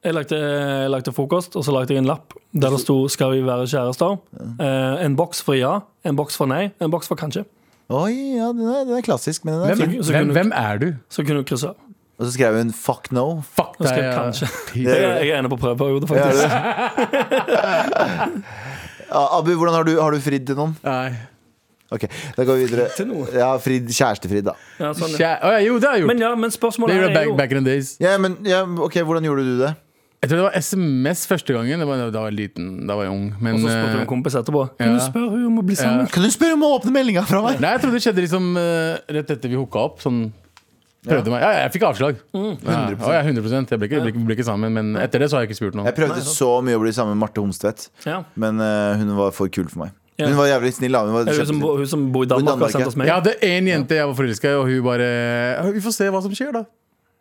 Speaker 3: Jeg lagde, jeg lagde frokost, og så lagde jeg en lapp der det sto 'Skal vi være kjærester?' Eh, en boks for ja, en boks for nei, en boks for kanskje.
Speaker 2: Oi, ja, den er, den er klassisk, men den er fin.
Speaker 4: Hvem,
Speaker 3: Så- så
Speaker 4: hvem,
Speaker 3: kunne-
Speaker 4: hvem er du?
Speaker 3: Så kunne du krysse av.
Speaker 2: Og så skrev hun 'fuck no'.
Speaker 4: Fuck
Speaker 3: Jeg
Speaker 4: deg.
Speaker 3: skrev
Speaker 4: ja.
Speaker 3: kanskje.
Speaker 4: Fy-
Speaker 3: Jeg, jeg er inne på prøveperiode,
Speaker 2: Ja,
Speaker 3: faktisk.
Speaker 2: <laughs> Ja, Abu, hvordan har du, har du fridd til noen?
Speaker 4: Nei.
Speaker 2: Ok, da går vi videre.
Speaker 3: Til noen?
Speaker 2: Ja, fridd, Kjærestefridd, da.
Speaker 3: Ja, sånn, ja.
Speaker 4: Kjæ- Å, ja, jo, det har jeg gjort.
Speaker 3: Men ja, men spørsmålet
Speaker 4: Det gjorde
Speaker 3: her er
Speaker 4: jeg back,
Speaker 3: jo
Speaker 4: back in the days.
Speaker 2: Ja, men ja, ok, Hvordan gjorde du det?
Speaker 4: Jeg tror det var SMS første gangen. Det var, da var jeg liten, da var jeg ung. Men,
Speaker 3: Og så spurte hun en
Speaker 4: eh,
Speaker 3: kompis etterpå. Kan du
Speaker 4: ja.
Speaker 3: spørre hun om å bli sammen?
Speaker 2: Kan du spørre om å åpne meldinga fra meg?
Speaker 4: Nei, jeg trodde det skjedde liksom eh, rett etter vi hooka opp. Sånn, prøvde meg. Ja, ja, jeg fikk avslag. Ja, å, ja, 100 Jeg ble ikke, ble, ikke, ble ikke sammen, men etter det så har jeg ikke spurt noe.
Speaker 2: Jeg prøvde så mye å bli sammen med Marte Homstvedt,
Speaker 3: Ja.
Speaker 2: men eh, hun var for kul for meg.
Speaker 3: Ja.
Speaker 2: Hun var jævlig snill. da. Hun var
Speaker 3: Er det Hun som,
Speaker 2: kjempesnill.
Speaker 3: bor- hun som bor i Danmark,
Speaker 2: Danmark,
Speaker 3: har sendt oss
Speaker 4: Jeg
Speaker 3: mail.
Speaker 4: hadde én jente jeg var forelska i, og hun bare «Ja, Vi får se hva som skjer, da.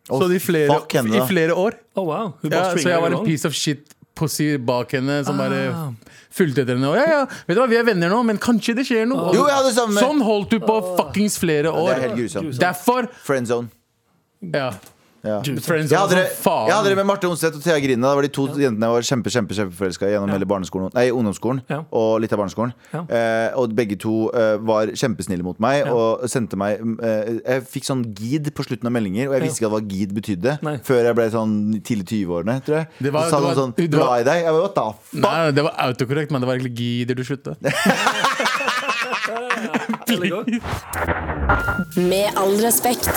Speaker 2: Å,
Speaker 4: Så det i flere,
Speaker 2: fuck henne,
Speaker 4: i
Speaker 2: da.
Speaker 4: flere år.
Speaker 3: Å, wow. Hun
Speaker 4: Ja,
Speaker 3: bare
Speaker 4: så jeg
Speaker 3: swinger
Speaker 4: var en
Speaker 3: along.
Speaker 4: piece of shit pussy bak henne som
Speaker 3: Ah.
Speaker 4: bare fulgte etter henne. Og ja, ja, vet du hva, vi er venner nå, men kanskje det skjer noe.
Speaker 2: Jo, jeg hadde det samme.
Speaker 4: Sånn holdt du på fuckings flere
Speaker 2: Det er
Speaker 4: år.
Speaker 2: helt grusomt.
Speaker 4: Derfor
Speaker 2: Friendzone.
Speaker 4: Ja.
Speaker 2: Ja.
Speaker 4: Friends
Speaker 2: Jeg hadde, det,
Speaker 4: som faen.
Speaker 2: jeg hadde det med Marte Onseth og Thea Grinda. Det var de to jentene jeg var kjempe, kjempe, kjempeforelska i gjennom hele barneskolen Nei, ungdomsskolen
Speaker 3: Ja.
Speaker 2: og litt av barneskolen.
Speaker 3: Ja.
Speaker 2: Eh, og begge to eh, var kjempesnille mot meg og sendte meg eh, Jeg fikk sånn gid på slutten av meldinger, og jeg visste ikke hva gid betydde
Speaker 3: Nei.
Speaker 2: før jeg ble sånn tidlig 20-årene, tror jeg.
Speaker 4: Det var-
Speaker 2: så sa
Speaker 4: det
Speaker 2: noen
Speaker 4: var-
Speaker 2: sånn
Speaker 4: det var-
Speaker 2: 'glad i deg'. Jeg bare, What the fuck?
Speaker 4: Nei, det var autokorrekt, men det var egentlig gidder du slutte.
Speaker 3: Veldig godt.
Speaker 1: Med all respekt.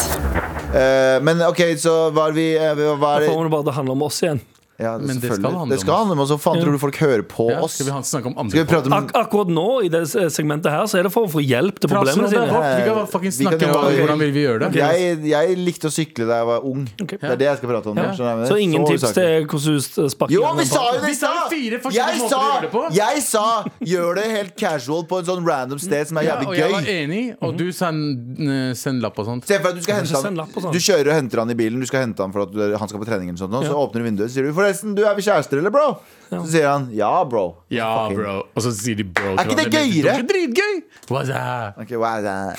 Speaker 2: Eh, men OK, så var vi eh, Hva er
Speaker 3: Da
Speaker 2: det
Speaker 3: får hun bare det handler om oss igjen.
Speaker 2: ja,
Speaker 4: Men det skal
Speaker 2: selvfølgelig.
Speaker 4: handle om
Speaker 2: det skal handle om oss. Hva faen tror du folk hører på
Speaker 4: Ja,
Speaker 2: oss?
Speaker 4: skal vi ha- snakke om andre
Speaker 2: Skal vi prate om
Speaker 3: Ak akkurat nå, i det segmentet her, så er det for å få hjelp til problemene sine.
Speaker 4: Problemene vårt. Vi kan bare fucking
Speaker 2: Vi kan
Speaker 4: snakke om
Speaker 2: gjøre-
Speaker 4: hva- hvordan vil vi gjøre det.
Speaker 2: jeg, jeg likte å sykle da jeg var ung. Det er det jeg skal prate om. nå, skjønner du?
Speaker 3: Så ingen tips
Speaker 2: usaklig.
Speaker 3: til hvordan du sparker
Speaker 2: jo, vi sa jo det!
Speaker 4: Vi
Speaker 2: i
Speaker 4: sa
Speaker 2: stad!
Speaker 4: fire forskjellige
Speaker 2: Jeg
Speaker 4: måter
Speaker 2: sa,
Speaker 4: å gjøre det på.
Speaker 2: jeg sa gjør det helt casual på en sånn random sted som er
Speaker 4: Ja,
Speaker 2: jævlig
Speaker 4: og jeg var
Speaker 2: gøy. Mhm.
Speaker 4: enig, og du send, eh, send lapp og sånt.
Speaker 2: Se for deg at du skal
Speaker 3: Kanskje
Speaker 2: hente
Speaker 3: send
Speaker 2: han
Speaker 3: lapp og sånn.
Speaker 2: Du kjører og henter han i bilen, du skal hente han for at du- han skal på trening, eller sånt, nå, så åpner du vinduet og sier du, for forresten, du er vi kjærester, eller, bro? Så sier han ja, bro.
Speaker 4: Ja,
Speaker 2: Fucking-
Speaker 4: bro. Og så sier de bro.
Speaker 2: Er ikke det gøyere?
Speaker 4: Det er dritgøy! What's up?
Speaker 2: Ok, wow, da.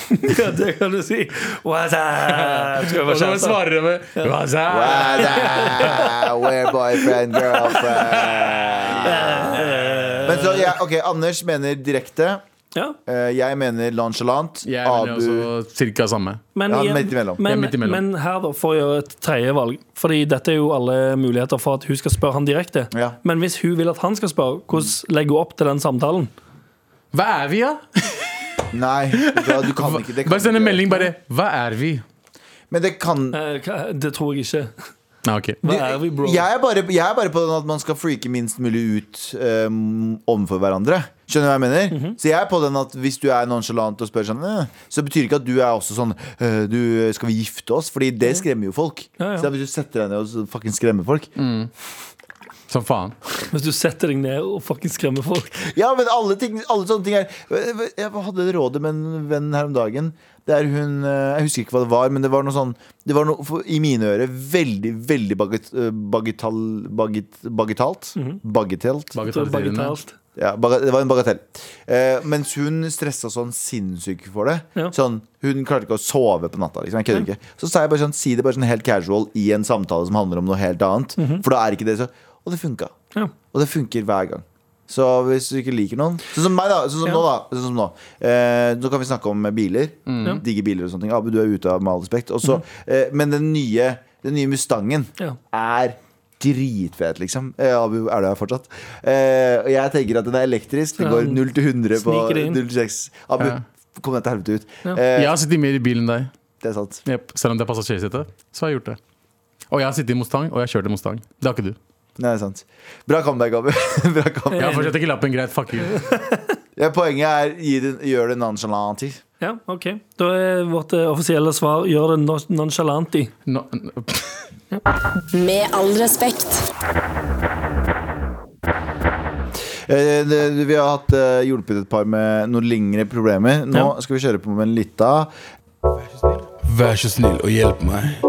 Speaker 3: <laughs> det kan du si. What's up? Skal vi
Speaker 4: Og
Speaker 3: være
Speaker 4: så
Speaker 3: kjærester?
Speaker 4: svarer de med What's
Speaker 2: wow,
Speaker 4: up?
Speaker 2: da. We're boyfriend, girlfriend. Men så, ja, ok, Anders mener direkte.
Speaker 3: Ja.
Speaker 2: eh, Jeg mener nonchalant.
Speaker 4: Jeg
Speaker 2: Abu
Speaker 4: mener også cirka samme.
Speaker 3: Men,
Speaker 2: Ja,
Speaker 3: igjen-
Speaker 2: midt imellom.
Speaker 4: Ja,
Speaker 3: Men,
Speaker 4: midt imellom.
Speaker 3: men her, da, for å gjøre et tredje valg. Fordi dette er jo alle muligheter for at hun skal spørre han direkte.
Speaker 2: Ja.
Speaker 3: Men hvis hun vil at han skal spørre, hvordan legger hun opp til den samtalen?
Speaker 4: Hva er vi, da?
Speaker 2: Nei, vet du hva, du kan ikke. Det kan
Speaker 4: Bare send en
Speaker 2: ikke.
Speaker 4: melding, bare. Hva er vi?
Speaker 2: Men det kan
Speaker 3: Eh, hva- Det tror jeg ikke.
Speaker 4: Nei, ok.
Speaker 3: Hva er vi, bro?
Speaker 2: Jeg er bare, jeg er bare på den at man skal freake minst mulig ut um, overfor hverandre. Skjønner du hva jeg mener?
Speaker 3: Mhm.
Speaker 2: Så jeg er på den at hvis du er nonchalant og spør sånn, eh, så betyr det ikke at du er også sånn eh, du, Skal vi gifte oss? Fordi det skremmer jo folk.
Speaker 3: Ja, ja.
Speaker 2: Så da hvis du setter deg ned og så fucking skremmer folk
Speaker 4: Som faen.
Speaker 3: Hvis du setter deg ned og fucking skremmer folk.
Speaker 2: Ja, men alle, ting, alle sånne ting er eh, Jeg hadde rådet med en venn her om dagen. Der hun eh, Jeg husker ikke hva det var, men det var noe sånn Det var noe for, i mine ører veldig, veldig baget, eh, bagetall, baget, bagetalt.
Speaker 3: Mhm.
Speaker 2: Bagetelt.
Speaker 4: Bagatelliserende.
Speaker 3: Bagatellt.
Speaker 2: Ja, baga- det var en bagatell. Eh, mens hun stressa sånn sinnssykt for det.
Speaker 3: Ja.
Speaker 2: Sånn, hun klarte ikke å sove på natta. Liksom. Jeg kødder ikke. Så sa jeg bare sånn, si det bare sånn helt casual i en samtale som handler om noe helt annet.
Speaker 3: Mhm.
Speaker 2: For da er ikke det så Og det funka.
Speaker 3: Ja.
Speaker 2: Og det funker hver gang. Så hvis du ikke liker noen Sånn som meg, da. Sånn som
Speaker 3: Ja.
Speaker 2: nå, da. Sånn som nå. Eh, nå kan vi snakke om biler.
Speaker 3: Mhm.
Speaker 2: Digge biler og sånne ting. Abu, du er ute av med all respekt. Og så, eh, men den nye, den nye Mustangen
Speaker 3: Ja.
Speaker 2: er dritfet, liksom. Eh, Abu er der fortsatt. Eh, og jeg tenker at den er elektrisk. Den
Speaker 3: Ja,
Speaker 2: går 0 til 100 på
Speaker 3: sniker det inn.
Speaker 2: 0 til 6. Abu,
Speaker 4: Ja.
Speaker 2: kom deg til helvete ut.
Speaker 3: Ja.
Speaker 2: Eh,
Speaker 4: Jeg har sittet mer i bilen enn deg.
Speaker 2: Det er sant.
Speaker 4: Jep, Selv om det er passasjersete, så har jeg gjort det. Og jeg har sittet i Mustang, og jeg har kjørt i Mustang. Det har ikke du.
Speaker 2: Nei, det er sant. Bra comeback, Abu. <laughs> Bra comeback.
Speaker 4: Jeg har fortsatt ikke lappen, greit, fuck you.
Speaker 2: Ja, poenget er gi det, gjør det nonchalant.
Speaker 3: Ja, OK. Da er vårt eh, offisielle svar gjør det no- nonchalant i.
Speaker 4: No, no,
Speaker 1: Med all respekt.
Speaker 2: Eh, det, vi har hatt eh, hjulpet et par med noen lengre problemer. Nå
Speaker 3: Ja.
Speaker 2: skal vi kjøre på med en lita.
Speaker 5: Vær så snill og hjelp meg.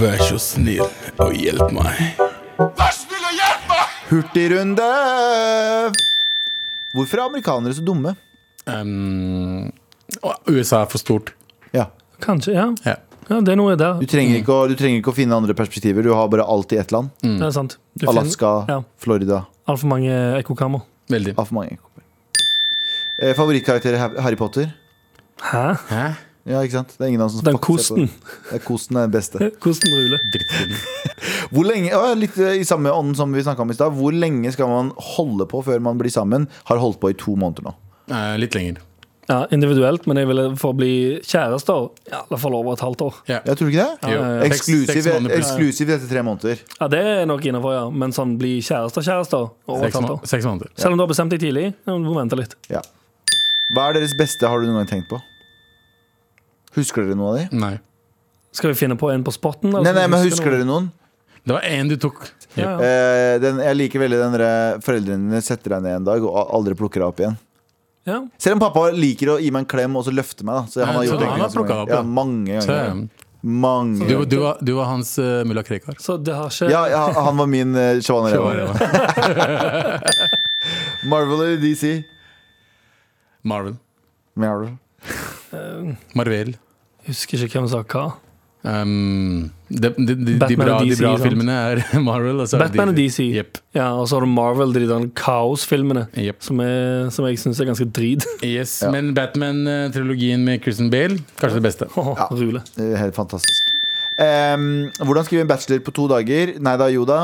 Speaker 5: Vær så snill og hjelp meg.
Speaker 2: Hurtigrunde! Hvorfor er amerikanere så dumme?
Speaker 4: um, å, USA er for stort.
Speaker 2: Ja
Speaker 3: Kanskje, ja.
Speaker 4: Ja.
Speaker 3: ja. Det er noe der.
Speaker 2: Du trenger, ikke å, du trenger ikke å finne andre perspektiver. Du har bare alltid ett land.
Speaker 3: Det er sant. Du
Speaker 2: Mm. Alaska,
Speaker 3: finner- ja,
Speaker 2: Florida.
Speaker 3: Altfor mange ekkokammer.
Speaker 4: Veldig.
Speaker 2: Altfor mange. Eh, Favorittkarakter i Har- Harry Potter.
Speaker 3: Hæ?
Speaker 4: Hæ?
Speaker 2: Ja, ikke sant? Det er ingen av oss som fucker
Speaker 3: Den
Speaker 2: seg på
Speaker 3: kosten.
Speaker 2: det. Ja, kosten er den beste.
Speaker 3: <laughs> Kosten ruler.
Speaker 4: Drittbilen.
Speaker 2: Hvor lenge, å, litt eh, I samme ånd som vi snakka om i stad, hvor lenge skal man holde på før man blir sammen? Har holdt på i to måneder nå.
Speaker 4: Eh, litt lenger.
Speaker 3: Ja, individuelt, men jeg ville for å bli kjærester i alle fall over et halvt år.
Speaker 4: Ja.
Speaker 2: Jeg tror du ikke det?
Speaker 4: Jo.
Speaker 3: ja, ja.
Speaker 4: Seks- seks
Speaker 2: Eksklusiv,
Speaker 4: måneder pluss.
Speaker 2: eksklusiv etter tre måneder.
Speaker 3: Ja, Det er nok innafor, ja. Men sånn bli kjærester-kjærester over et
Speaker 4: Seks,
Speaker 3: halvt
Speaker 4: må
Speaker 3: år.
Speaker 4: seks måneder.
Speaker 3: Selv om du har bestemt deg tidlig. Ja, men du må vente litt.
Speaker 2: Ja. Hva er deres beste, har du noen gang tenkt på? Husker dere noen av de?
Speaker 4: Nei.
Speaker 3: Skal vi finne på en på spotten? altså?
Speaker 2: Nei, nei, men husker dere noen?
Speaker 4: Det var én du tok.
Speaker 3: Ja, ja.
Speaker 2: Eh, den, jeg liker veldig den der eh, foreldrene dine setter deg ned en dag og a- aldri plukker deg opp igjen.
Speaker 3: ja.
Speaker 2: Selv om pappa liker å gi meg en klem og så løfte meg. Da. Så han
Speaker 4: Ja,
Speaker 2: har
Speaker 4: så
Speaker 2: gjort det
Speaker 4: han har
Speaker 2: ganske
Speaker 4: plukket
Speaker 2: mange-
Speaker 4: opp,
Speaker 2: ja,
Speaker 4: ja.
Speaker 2: mange
Speaker 4: Så,
Speaker 2: ganger. Mange
Speaker 4: du,
Speaker 2: ganger.
Speaker 4: du, var, du var hans uh, mulla Krekar.
Speaker 3: Så det har ikke
Speaker 2: Ja, ja, han var min
Speaker 4: <laughs>
Speaker 2: uh, Shawan Reva. Marvel eller DC?
Speaker 4: Marvel.
Speaker 2: Marvel.
Speaker 4: Marvel.
Speaker 3: Jeg husker ikke hvem som sa hva.
Speaker 4: Um, de, de, de, de
Speaker 3: Batman
Speaker 4: bra,
Speaker 3: og
Speaker 4: de
Speaker 3: DC,
Speaker 4: bra
Speaker 3: sant?
Speaker 4: filmene er <laughs> Marvel. Og så er det
Speaker 3: Batman og DC.
Speaker 4: Jepp.
Speaker 3: Ja, Og så har du Marvel, de der kaosfilmene,
Speaker 4: Jepp.
Speaker 3: som, er- som jeg syns er ganske drit. <laughs>
Speaker 4: Yes,
Speaker 2: Ja.
Speaker 4: Men Batman-trilogien med Christian Bale, kanskje det beste.
Speaker 3: Åh, Rule.
Speaker 2: Eh, Helt fantastisk. Em, hvordan skrive en bachelor på to dager? Nei da, jo da.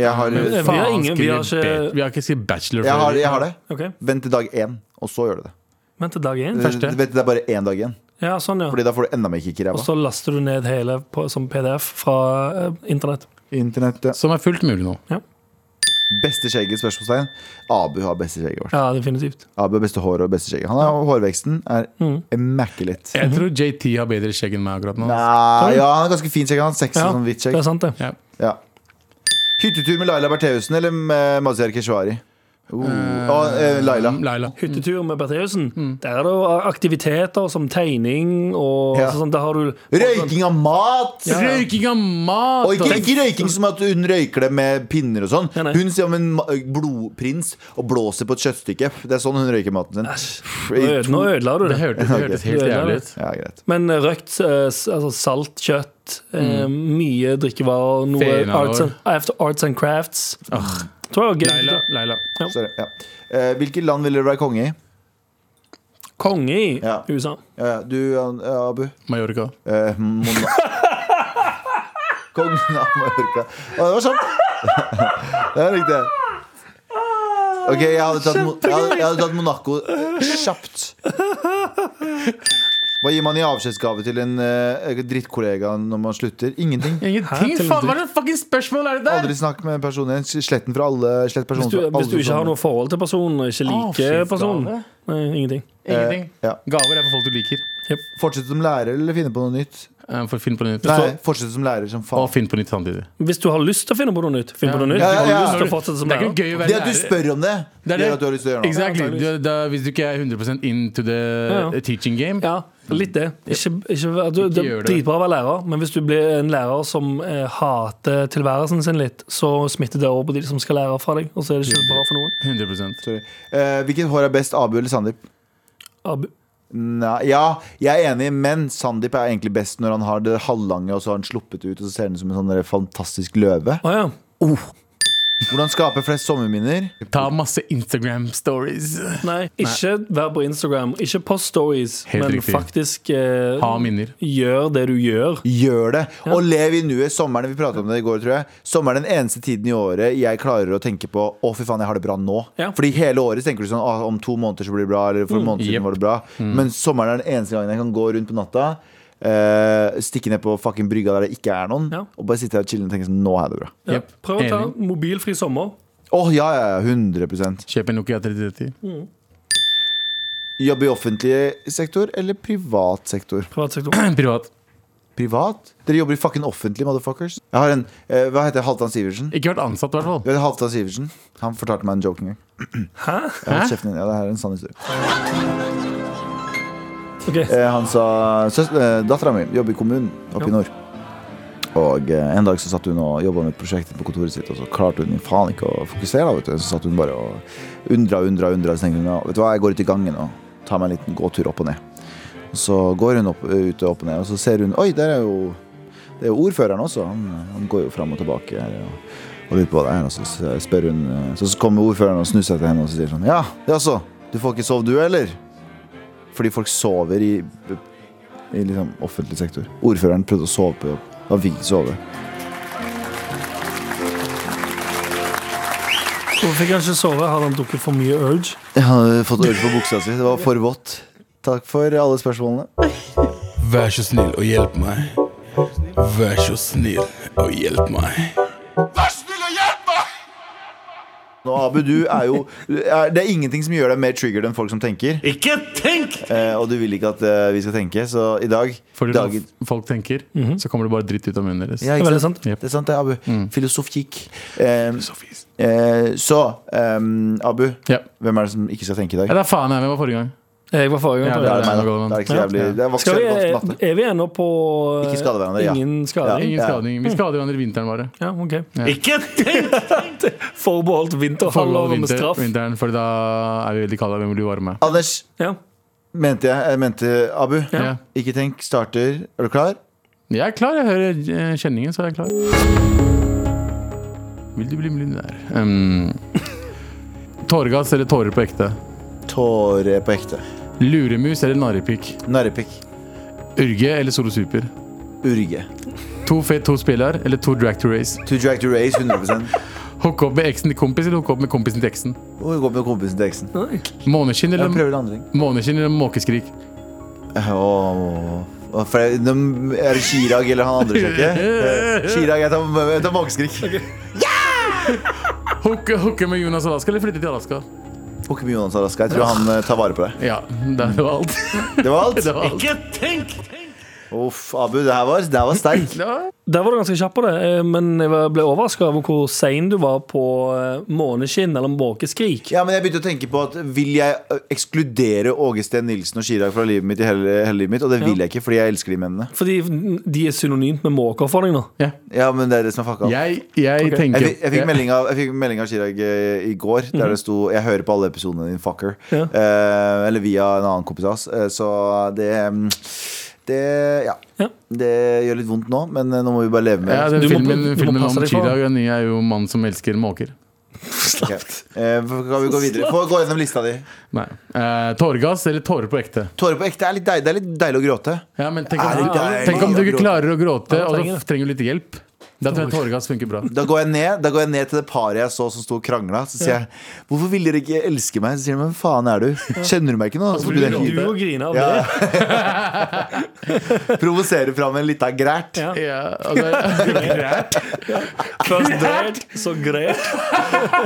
Speaker 2: Jeg har,
Speaker 3: Men-
Speaker 2: jeg
Speaker 3: vi har ingen- vi har
Speaker 4: skriv
Speaker 3: ikke-
Speaker 4: ba- vi har ikke skrevet bachelor før.
Speaker 2: har, jeg har det.
Speaker 3: OK.
Speaker 2: Vent til dag én, og så gjør du det. Eh,
Speaker 3: Vent til dag én.
Speaker 2: Vent
Speaker 4: Første.
Speaker 2: til det er bare én dag igjen.
Speaker 3: Ja, sånn, ja.
Speaker 2: Fordi da får du enda mer kick i
Speaker 3: Og
Speaker 2: ræva.
Speaker 3: så laster du ned hele på, som PDF fra eh, internett.
Speaker 2: Internett, ja.
Speaker 4: Som er fullt mulig nå.
Speaker 2: Beste skjegget? spørsmålstegn Abu har beste skjegget vårt.
Speaker 3: Ja, definitivt.
Speaker 2: Abu har beste hår og beste skjegget. Han har hårveksten er
Speaker 3: Mm.
Speaker 2: immaculate.
Speaker 4: Jeg tror JT har bedre skjegg enn meg akkurat nå.
Speaker 2: Mhm. Nei, ja, han er ganske fin skjegg. Han har sexy
Speaker 3: Ja,
Speaker 2: sånn hvitt
Speaker 3: det
Speaker 2: skjegg.
Speaker 3: er sant, det.
Speaker 4: Ja.
Speaker 2: Ja. Hyttetur med Laila Bertheussen eller med Mazyar Keshvari? Uh, og eh, Laila.
Speaker 3: Mm.
Speaker 4: Laila.
Speaker 3: Hyttetur med Bertheussen.
Speaker 2: Mm.
Speaker 3: Der er det jo aktiviteter som tegning og
Speaker 2: Ja.
Speaker 3: altså sånn. Der har du
Speaker 2: Røyking av mat!
Speaker 3: Ja, ja.
Speaker 4: Røyking av mat!
Speaker 2: Og ikke,
Speaker 4: og-
Speaker 2: ikke røyking som at hun røyker det med pinner og sånn.
Speaker 3: Nei, nei.
Speaker 2: Hun ser om en ma- eh, blodprins og blåser på et kjøttstykke. Det er sånn hun røyker maten
Speaker 3: Ah,
Speaker 2: sin.
Speaker 3: Nå øde- Nå ødela du
Speaker 4: Det
Speaker 3: det.
Speaker 4: hørtes, det hørtes helt
Speaker 3: Ok.
Speaker 4: jævlig ut.
Speaker 2: Ja, greit.
Speaker 3: Men eh, røkt eh, s- altså salt kjøtt, eh,
Speaker 2: Mm.
Speaker 3: mye drikkevarer, noe
Speaker 4: Fenalår.
Speaker 3: arts and, after arts and crafts. Tror jeg var
Speaker 4: Laila,
Speaker 3: gøy.
Speaker 4: Laila.
Speaker 2: Sorry, ja. Eh, Hvilket land ville du være konge i?
Speaker 3: Konge i
Speaker 2: Ja.
Speaker 3: USA.
Speaker 2: Eh, du, An- eh, Abu?
Speaker 4: Mallorca.
Speaker 2: Eh, Mona Kongen av Mallorca. Å, det var sånn! <laughs> Det likte jeg. Ok, jeg hadde tatt, Mo- jeg hadde, jeg hadde tatt Monaco kjapt. Hva gir man i avskjedsgave til en eh, drittkollega når man slutter? Ingenting.
Speaker 4: Ingenting!
Speaker 3: Til-
Speaker 4: Faen, hva er det fuckings spørsmål er det der?!
Speaker 2: Aldri snakk med personen igjen. Sletten fra alle. Slett personen
Speaker 3: Hvis du,
Speaker 2: fra alle
Speaker 3: hvis du ikke har
Speaker 2: sosiale-
Speaker 3: noe forhold til personen, og ikke liker
Speaker 4: Avskjedsgave?
Speaker 3: personen. Nei, ingenting.
Speaker 2: Eh,
Speaker 4: Ingenting.
Speaker 2: ja.
Speaker 4: Gaver er for folk du liker.
Speaker 2: Fortsette som lærer eller finne på noe nytt?
Speaker 4: Eh, For Finn på nytt.
Speaker 2: Nei, fortsette som lærer som
Speaker 4: Og
Speaker 2: faen.
Speaker 4: Finn på nytt samtidig.
Speaker 3: Hvis du har lyst til å finne på noe nytt, finn på noe nytt.
Speaker 2: Ja,
Speaker 3: Hvis
Speaker 2: ja,
Speaker 3: Du har
Speaker 2: ja.
Speaker 3: lyst til å fortsette som
Speaker 4: Det er
Speaker 3: lærer.
Speaker 4: ikke gøy å være
Speaker 2: Det at du
Speaker 4: lærer.
Speaker 2: spør om det,
Speaker 4: Det er det.
Speaker 2: gjør at du har lyst til å gjøre noe.
Speaker 4: Exactly.
Speaker 3: Ja,
Speaker 4: Du, da, hvis du ikke er 100 into the
Speaker 3: Ja, ja.
Speaker 4: teaching game
Speaker 3: Ja, litt det. Ikke, ikke, vær- du,
Speaker 4: Ikke
Speaker 3: det
Speaker 4: gjør
Speaker 3: er
Speaker 4: det.
Speaker 3: dritbra å være lærer, men hvis du blir en lærer som eh, hater tilværelsen sin litt, så smitter det over på de som skal lære fra deg, og så er det ikke bra for noen.
Speaker 4: 100
Speaker 2: Sorry. Eh, hvilket hår er best, Abu eller Sandeep?
Speaker 3: Abu.
Speaker 2: Nei, ja, jeg er enig, men Sandeep er egentlig best når han har det halvlange, og så har han sluppet det ut, og så ser han ut som en sånn der fantastisk løve.
Speaker 3: Å ja.
Speaker 2: Hvordan skape flest sommerminner?
Speaker 4: Ta masse Instagram-stories.
Speaker 3: Nei, ikke vær på Instagram. Ikke post stories,
Speaker 4: Helt
Speaker 3: men
Speaker 4: riktig.
Speaker 3: faktisk eh,
Speaker 4: Ha minner.
Speaker 3: gjør det du gjør.
Speaker 2: Gjør det! Og lev i nuet. Sommeren vi pratet om det i går, tror jeg. Sommeren er den eneste tiden i året jeg klarer å tenke på Å, fy faen, jeg har det bra nå.
Speaker 3: Ja. Mm,
Speaker 2: Fordi hele året tenker du sånn «Å, Om to måneder så blir det bra, eller for en måned siden
Speaker 4: Jep.
Speaker 2: var det bra. Men sommeren er den eneste gangen jeg kan gå rundt på natta. eh, stikke ned på fucking brygga der det ikke er noen,
Speaker 3: Ja.
Speaker 2: og bare sitte her og chille og tenke sånn Nå har jeg det bra.
Speaker 3: Ja.
Speaker 4: Jep.
Speaker 3: Prøv å ta
Speaker 4: Enig.
Speaker 3: mobilfri sommer.
Speaker 2: Å ja, ja, ja. 100
Speaker 4: Kjøp en Nokia 3030.
Speaker 2: Jobbe i offentlig sektor eller privat sektor?
Speaker 3: Privat sektor.
Speaker 4: <clears throat> Privat.
Speaker 2: Privat? Dere jobber i fucking offentlig, motherfuckers. Jeg har en eh, Hva heter Halvdan Sivertsen?
Speaker 4: Ikke vært ansatt, i hvert fall.
Speaker 2: Du vet Halvdan Sivertsen? Han fortalte meg en joke en gang. <clears throat> Hæ? Jeg holdt kjeften din. Ja, det her er en sann historie.
Speaker 3: Ok.
Speaker 2: Eh, han sa uh, Dattera mi jobber i kommunen oppe i nord. Og eh, en dag så satt hun og jobba med et prosjekt på kontoret sitt, og så klarte hun faen ikke å fokusere. da, Vet du. Så satt hun bare og undra, undra, undra. Så tenkte hun ja, vet du hva, jeg går ut i gangen og tar meg en liten gåtur opp og ned. Og Så går hun opp, ut og opp og ned, og så ser hun Oi, der er jo det er jo ordføreren også. Han, han går jo fram og tilbake her og, og lurer på hva det er. Og så s- spør hun eh, Så kommer ordføreren og snur seg til henne og så sier sånn Ja, jaså, du får ikke sove du, eller? Fordi folk sover i, i liksom offentlig sektor. Ordføreren prøvde å sove på jobb. Han fikk ikke sove.
Speaker 3: Hvorfor fikk han ikke sove? Hadde han drukket for mye Urge?
Speaker 2: Jeg hadde fått øre på buksa si. Det var for vått. Takk for alle spørsmålene.
Speaker 5: Vær så snill og hjelp meg. Vær så snill og hjelp meg.
Speaker 2: Nå, Abu, du er jo er, Det er ingenting som gjør deg mer triggered enn folk som tenker. Ikke tenk! Eh, og du vil ikke at eh, vi skal tenke, så i dag
Speaker 4: Fordi når
Speaker 2: dagen, Mhm.
Speaker 4: folk tenker, så kommer det bare dritt ut av munnen deres.
Speaker 2: Ja,
Speaker 3: Det er
Speaker 2: ikke
Speaker 3: veldig
Speaker 2: sant?
Speaker 3: sant. Mm.
Speaker 4: Jep.
Speaker 2: Det er sant, det, Abu. Filosofkikk. Eh, eh, så, ehm, Abu,
Speaker 4: Ja.
Speaker 2: hvem er det som ikke skal tenke i dag?
Speaker 4: Ja, da faen jeg, hvem var forrige gang?
Speaker 3: Eh, Jeg var forrige
Speaker 4: Ja,
Speaker 3: gang.
Speaker 4: det
Speaker 2: Det er
Speaker 3: tror jeg.
Speaker 2: meg, da. Det er ikke så jævlig Det var ikke så
Speaker 3: Skal vi,
Speaker 2: jævlig vanskelig matte.
Speaker 3: er vi ennå på eh,
Speaker 2: Ikke skade hverandre, ja.
Speaker 3: Ingen skading?
Speaker 4: Ingen
Speaker 2: Ja.
Speaker 4: skading. Vi skader hverandre i vinteren bare.
Speaker 3: Ja, ok.
Speaker 4: Ja.
Speaker 3: Ikke <laughs> tenk! Forbeholdt vinterhalvåret med
Speaker 4: Vinter-
Speaker 3: straff.
Speaker 4: Vinteren, for da er vi veldig kalde, og vi må bli varme.
Speaker 2: Anders,
Speaker 3: Ja.
Speaker 2: mente jeg, jeg mente Abu.
Speaker 4: Ja.
Speaker 2: Ikke tenk, starter. Er du klar?
Speaker 4: Jeg er klar, jeg hører eh, kjenningen, så er jeg klar. Vil du bli millionær? Um, tåregass eller tårer på ekte?
Speaker 2: Tåre på ekte.
Speaker 4: Luremus eller narrepikk?
Speaker 2: Narrepikk.
Speaker 4: Urge eller Solo Super?
Speaker 2: Urge.
Speaker 4: To fet, to spiller eller to drag to race?
Speaker 2: To drag to race 100
Speaker 4: <laughs> Hooke opp med eksen til kompis eller hooke opp med kompisen til eksen?
Speaker 2: Og gå med kompisen til eksen.
Speaker 4: Måneskinn
Speaker 2: Jeg
Speaker 4: eller,
Speaker 2: prøver andre ting.
Speaker 4: måneskinn eller måkeskrik?
Speaker 2: Åh, åh, for jeg, de- er det Chirag eller han andre sjekket?
Speaker 4: <laughs>
Speaker 2: Eh, Chirag, jeg tar, jeg tar måkeskrik.
Speaker 4: Hooke hooke med Jonas Alaska eller flytte til Alaska?
Speaker 2: Håkon Jonas Alaska, jeg tror han eh, tar vare på deg.
Speaker 4: Ja, <laughs> det var alt.
Speaker 2: Det var alt.
Speaker 4: Det var alt.
Speaker 2: Uff, Abu, det her var, det her var
Speaker 4: <laughs>
Speaker 2: sterkt.
Speaker 3: Der var du ganske kjapp på det, eh, men jeg var- ble overraska over hvor sein du var på eh, måneskinn eller måkeskrik.
Speaker 2: Ja, men jeg begynte å tenke på at Vil jeg ø, ekskludere Åge Steen Nilsen og Chirag fra livet mitt i hele, hele livet mitt? Og det vil jeg ikke, fordi jeg elsker de mennene.
Speaker 3: Fordi de er synonymt med måker for deg nå.
Speaker 4: Ja.
Speaker 2: Ja, men det er det som er fucka opp.
Speaker 4: Jeg, jeg
Speaker 3: Ok.
Speaker 4: tenker
Speaker 2: Jeg fikk, jeg fikk
Speaker 4: Ja.
Speaker 2: melding av- jeg fikk melding av Chirag eh, i går, der det sto 'Jeg hører på alle episodene dine, fucker'.
Speaker 3: Ja.
Speaker 2: Eh, eller via en annen kompis av oss. Eh, så det mm, Det Ja.
Speaker 3: Ja.
Speaker 2: Det gjør litt vondt nå, men eh, nå må vi bare leve med
Speaker 4: ja,
Speaker 2: det.
Speaker 4: den
Speaker 3: Du må-
Speaker 4: filmen,
Speaker 3: du må
Speaker 4: filmen
Speaker 3: passe
Speaker 4: om
Speaker 3: deg for.
Speaker 4: Chirag den nye er jo 'Mann som elsker måker'.
Speaker 2: Ok. Eh, kan vi gå videre? Få gå gjennom lista di.
Speaker 4: Nei. Eh, tåregass eller tårer på ekte?
Speaker 2: Tårer på ekte er litt deilig, det er litt deilig å gråte.
Speaker 4: Ja, men tenk
Speaker 2: Er
Speaker 4: om,
Speaker 2: det deilig
Speaker 4: tenk om du ikke
Speaker 2: å gråte?
Speaker 4: klarer å gråte,
Speaker 3: Ja,
Speaker 4: og
Speaker 3: trenger
Speaker 4: da
Speaker 3: det.
Speaker 4: trenger du litt hjelp. Da tror jeg tåregass funker bra.
Speaker 2: Da går, jeg ned, da går jeg ned til det paret jeg så som sto og krangla. Så sier jeg 'Hvorfor vil dere ikke elske meg?' Så sier de 'Hvem faen er du?' Kjenner du meg ikke nå? Så
Speaker 3: Altså, Du,
Speaker 2: blir det helt-
Speaker 3: du og griner av
Speaker 2: Ja.
Speaker 3: det.
Speaker 2: <laughs> Provosere fram en lita grært.
Speaker 3: Ja.
Speaker 4: Ja, altså, <laughs>
Speaker 3: Først drært, så grep.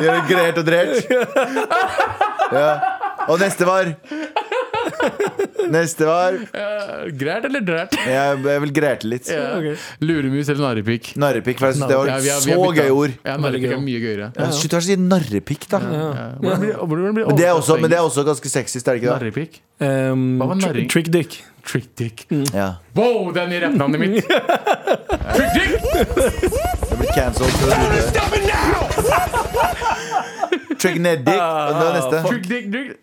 Speaker 2: Gjøre grert og drert. Ja. Og neste var Neste var
Speaker 4: eh, grært eller drært?
Speaker 2: Jeg, jeg vil grerte litt.
Speaker 4: Ja.
Speaker 3: Ok.
Speaker 4: Luremus eller narrepikk?
Speaker 2: Narrepikk, for jeg synes det var
Speaker 4: Ja, vi har-
Speaker 2: et
Speaker 4: vi har
Speaker 2: så
Speaker 4: byttet.
Speaker 2: gøy ord.
Speaker 4: Ja, narrepikk er mye gøyere.
Speaker 2: Ja, Slutt å si narrepikk, da.
Speaker 4: Ja. Hvordan blir, hvordan blir
Speaker 2: Men det, er også, men det er også ganske sexy, er det ikke det?
Speaker 4: Narrepikk?
Speaker 3: Um,
Speaker 4: Hva var
Speaker 3: tr-
Speaker 4: narring?
Speaker 3: trick dick.
Speaker 4: Trick dick.
Speaker 2: Ja.
Speaker 4: Wow, det er nye rappnavnet <laughs> mitt! Trick dick!
Speaker 2: Det blir cancelled. for å bruke det. Trick ned dick.
Speaker 4: Ah,
Speaker 2: Og det var neste.
Speaker 4: Trick dick, trick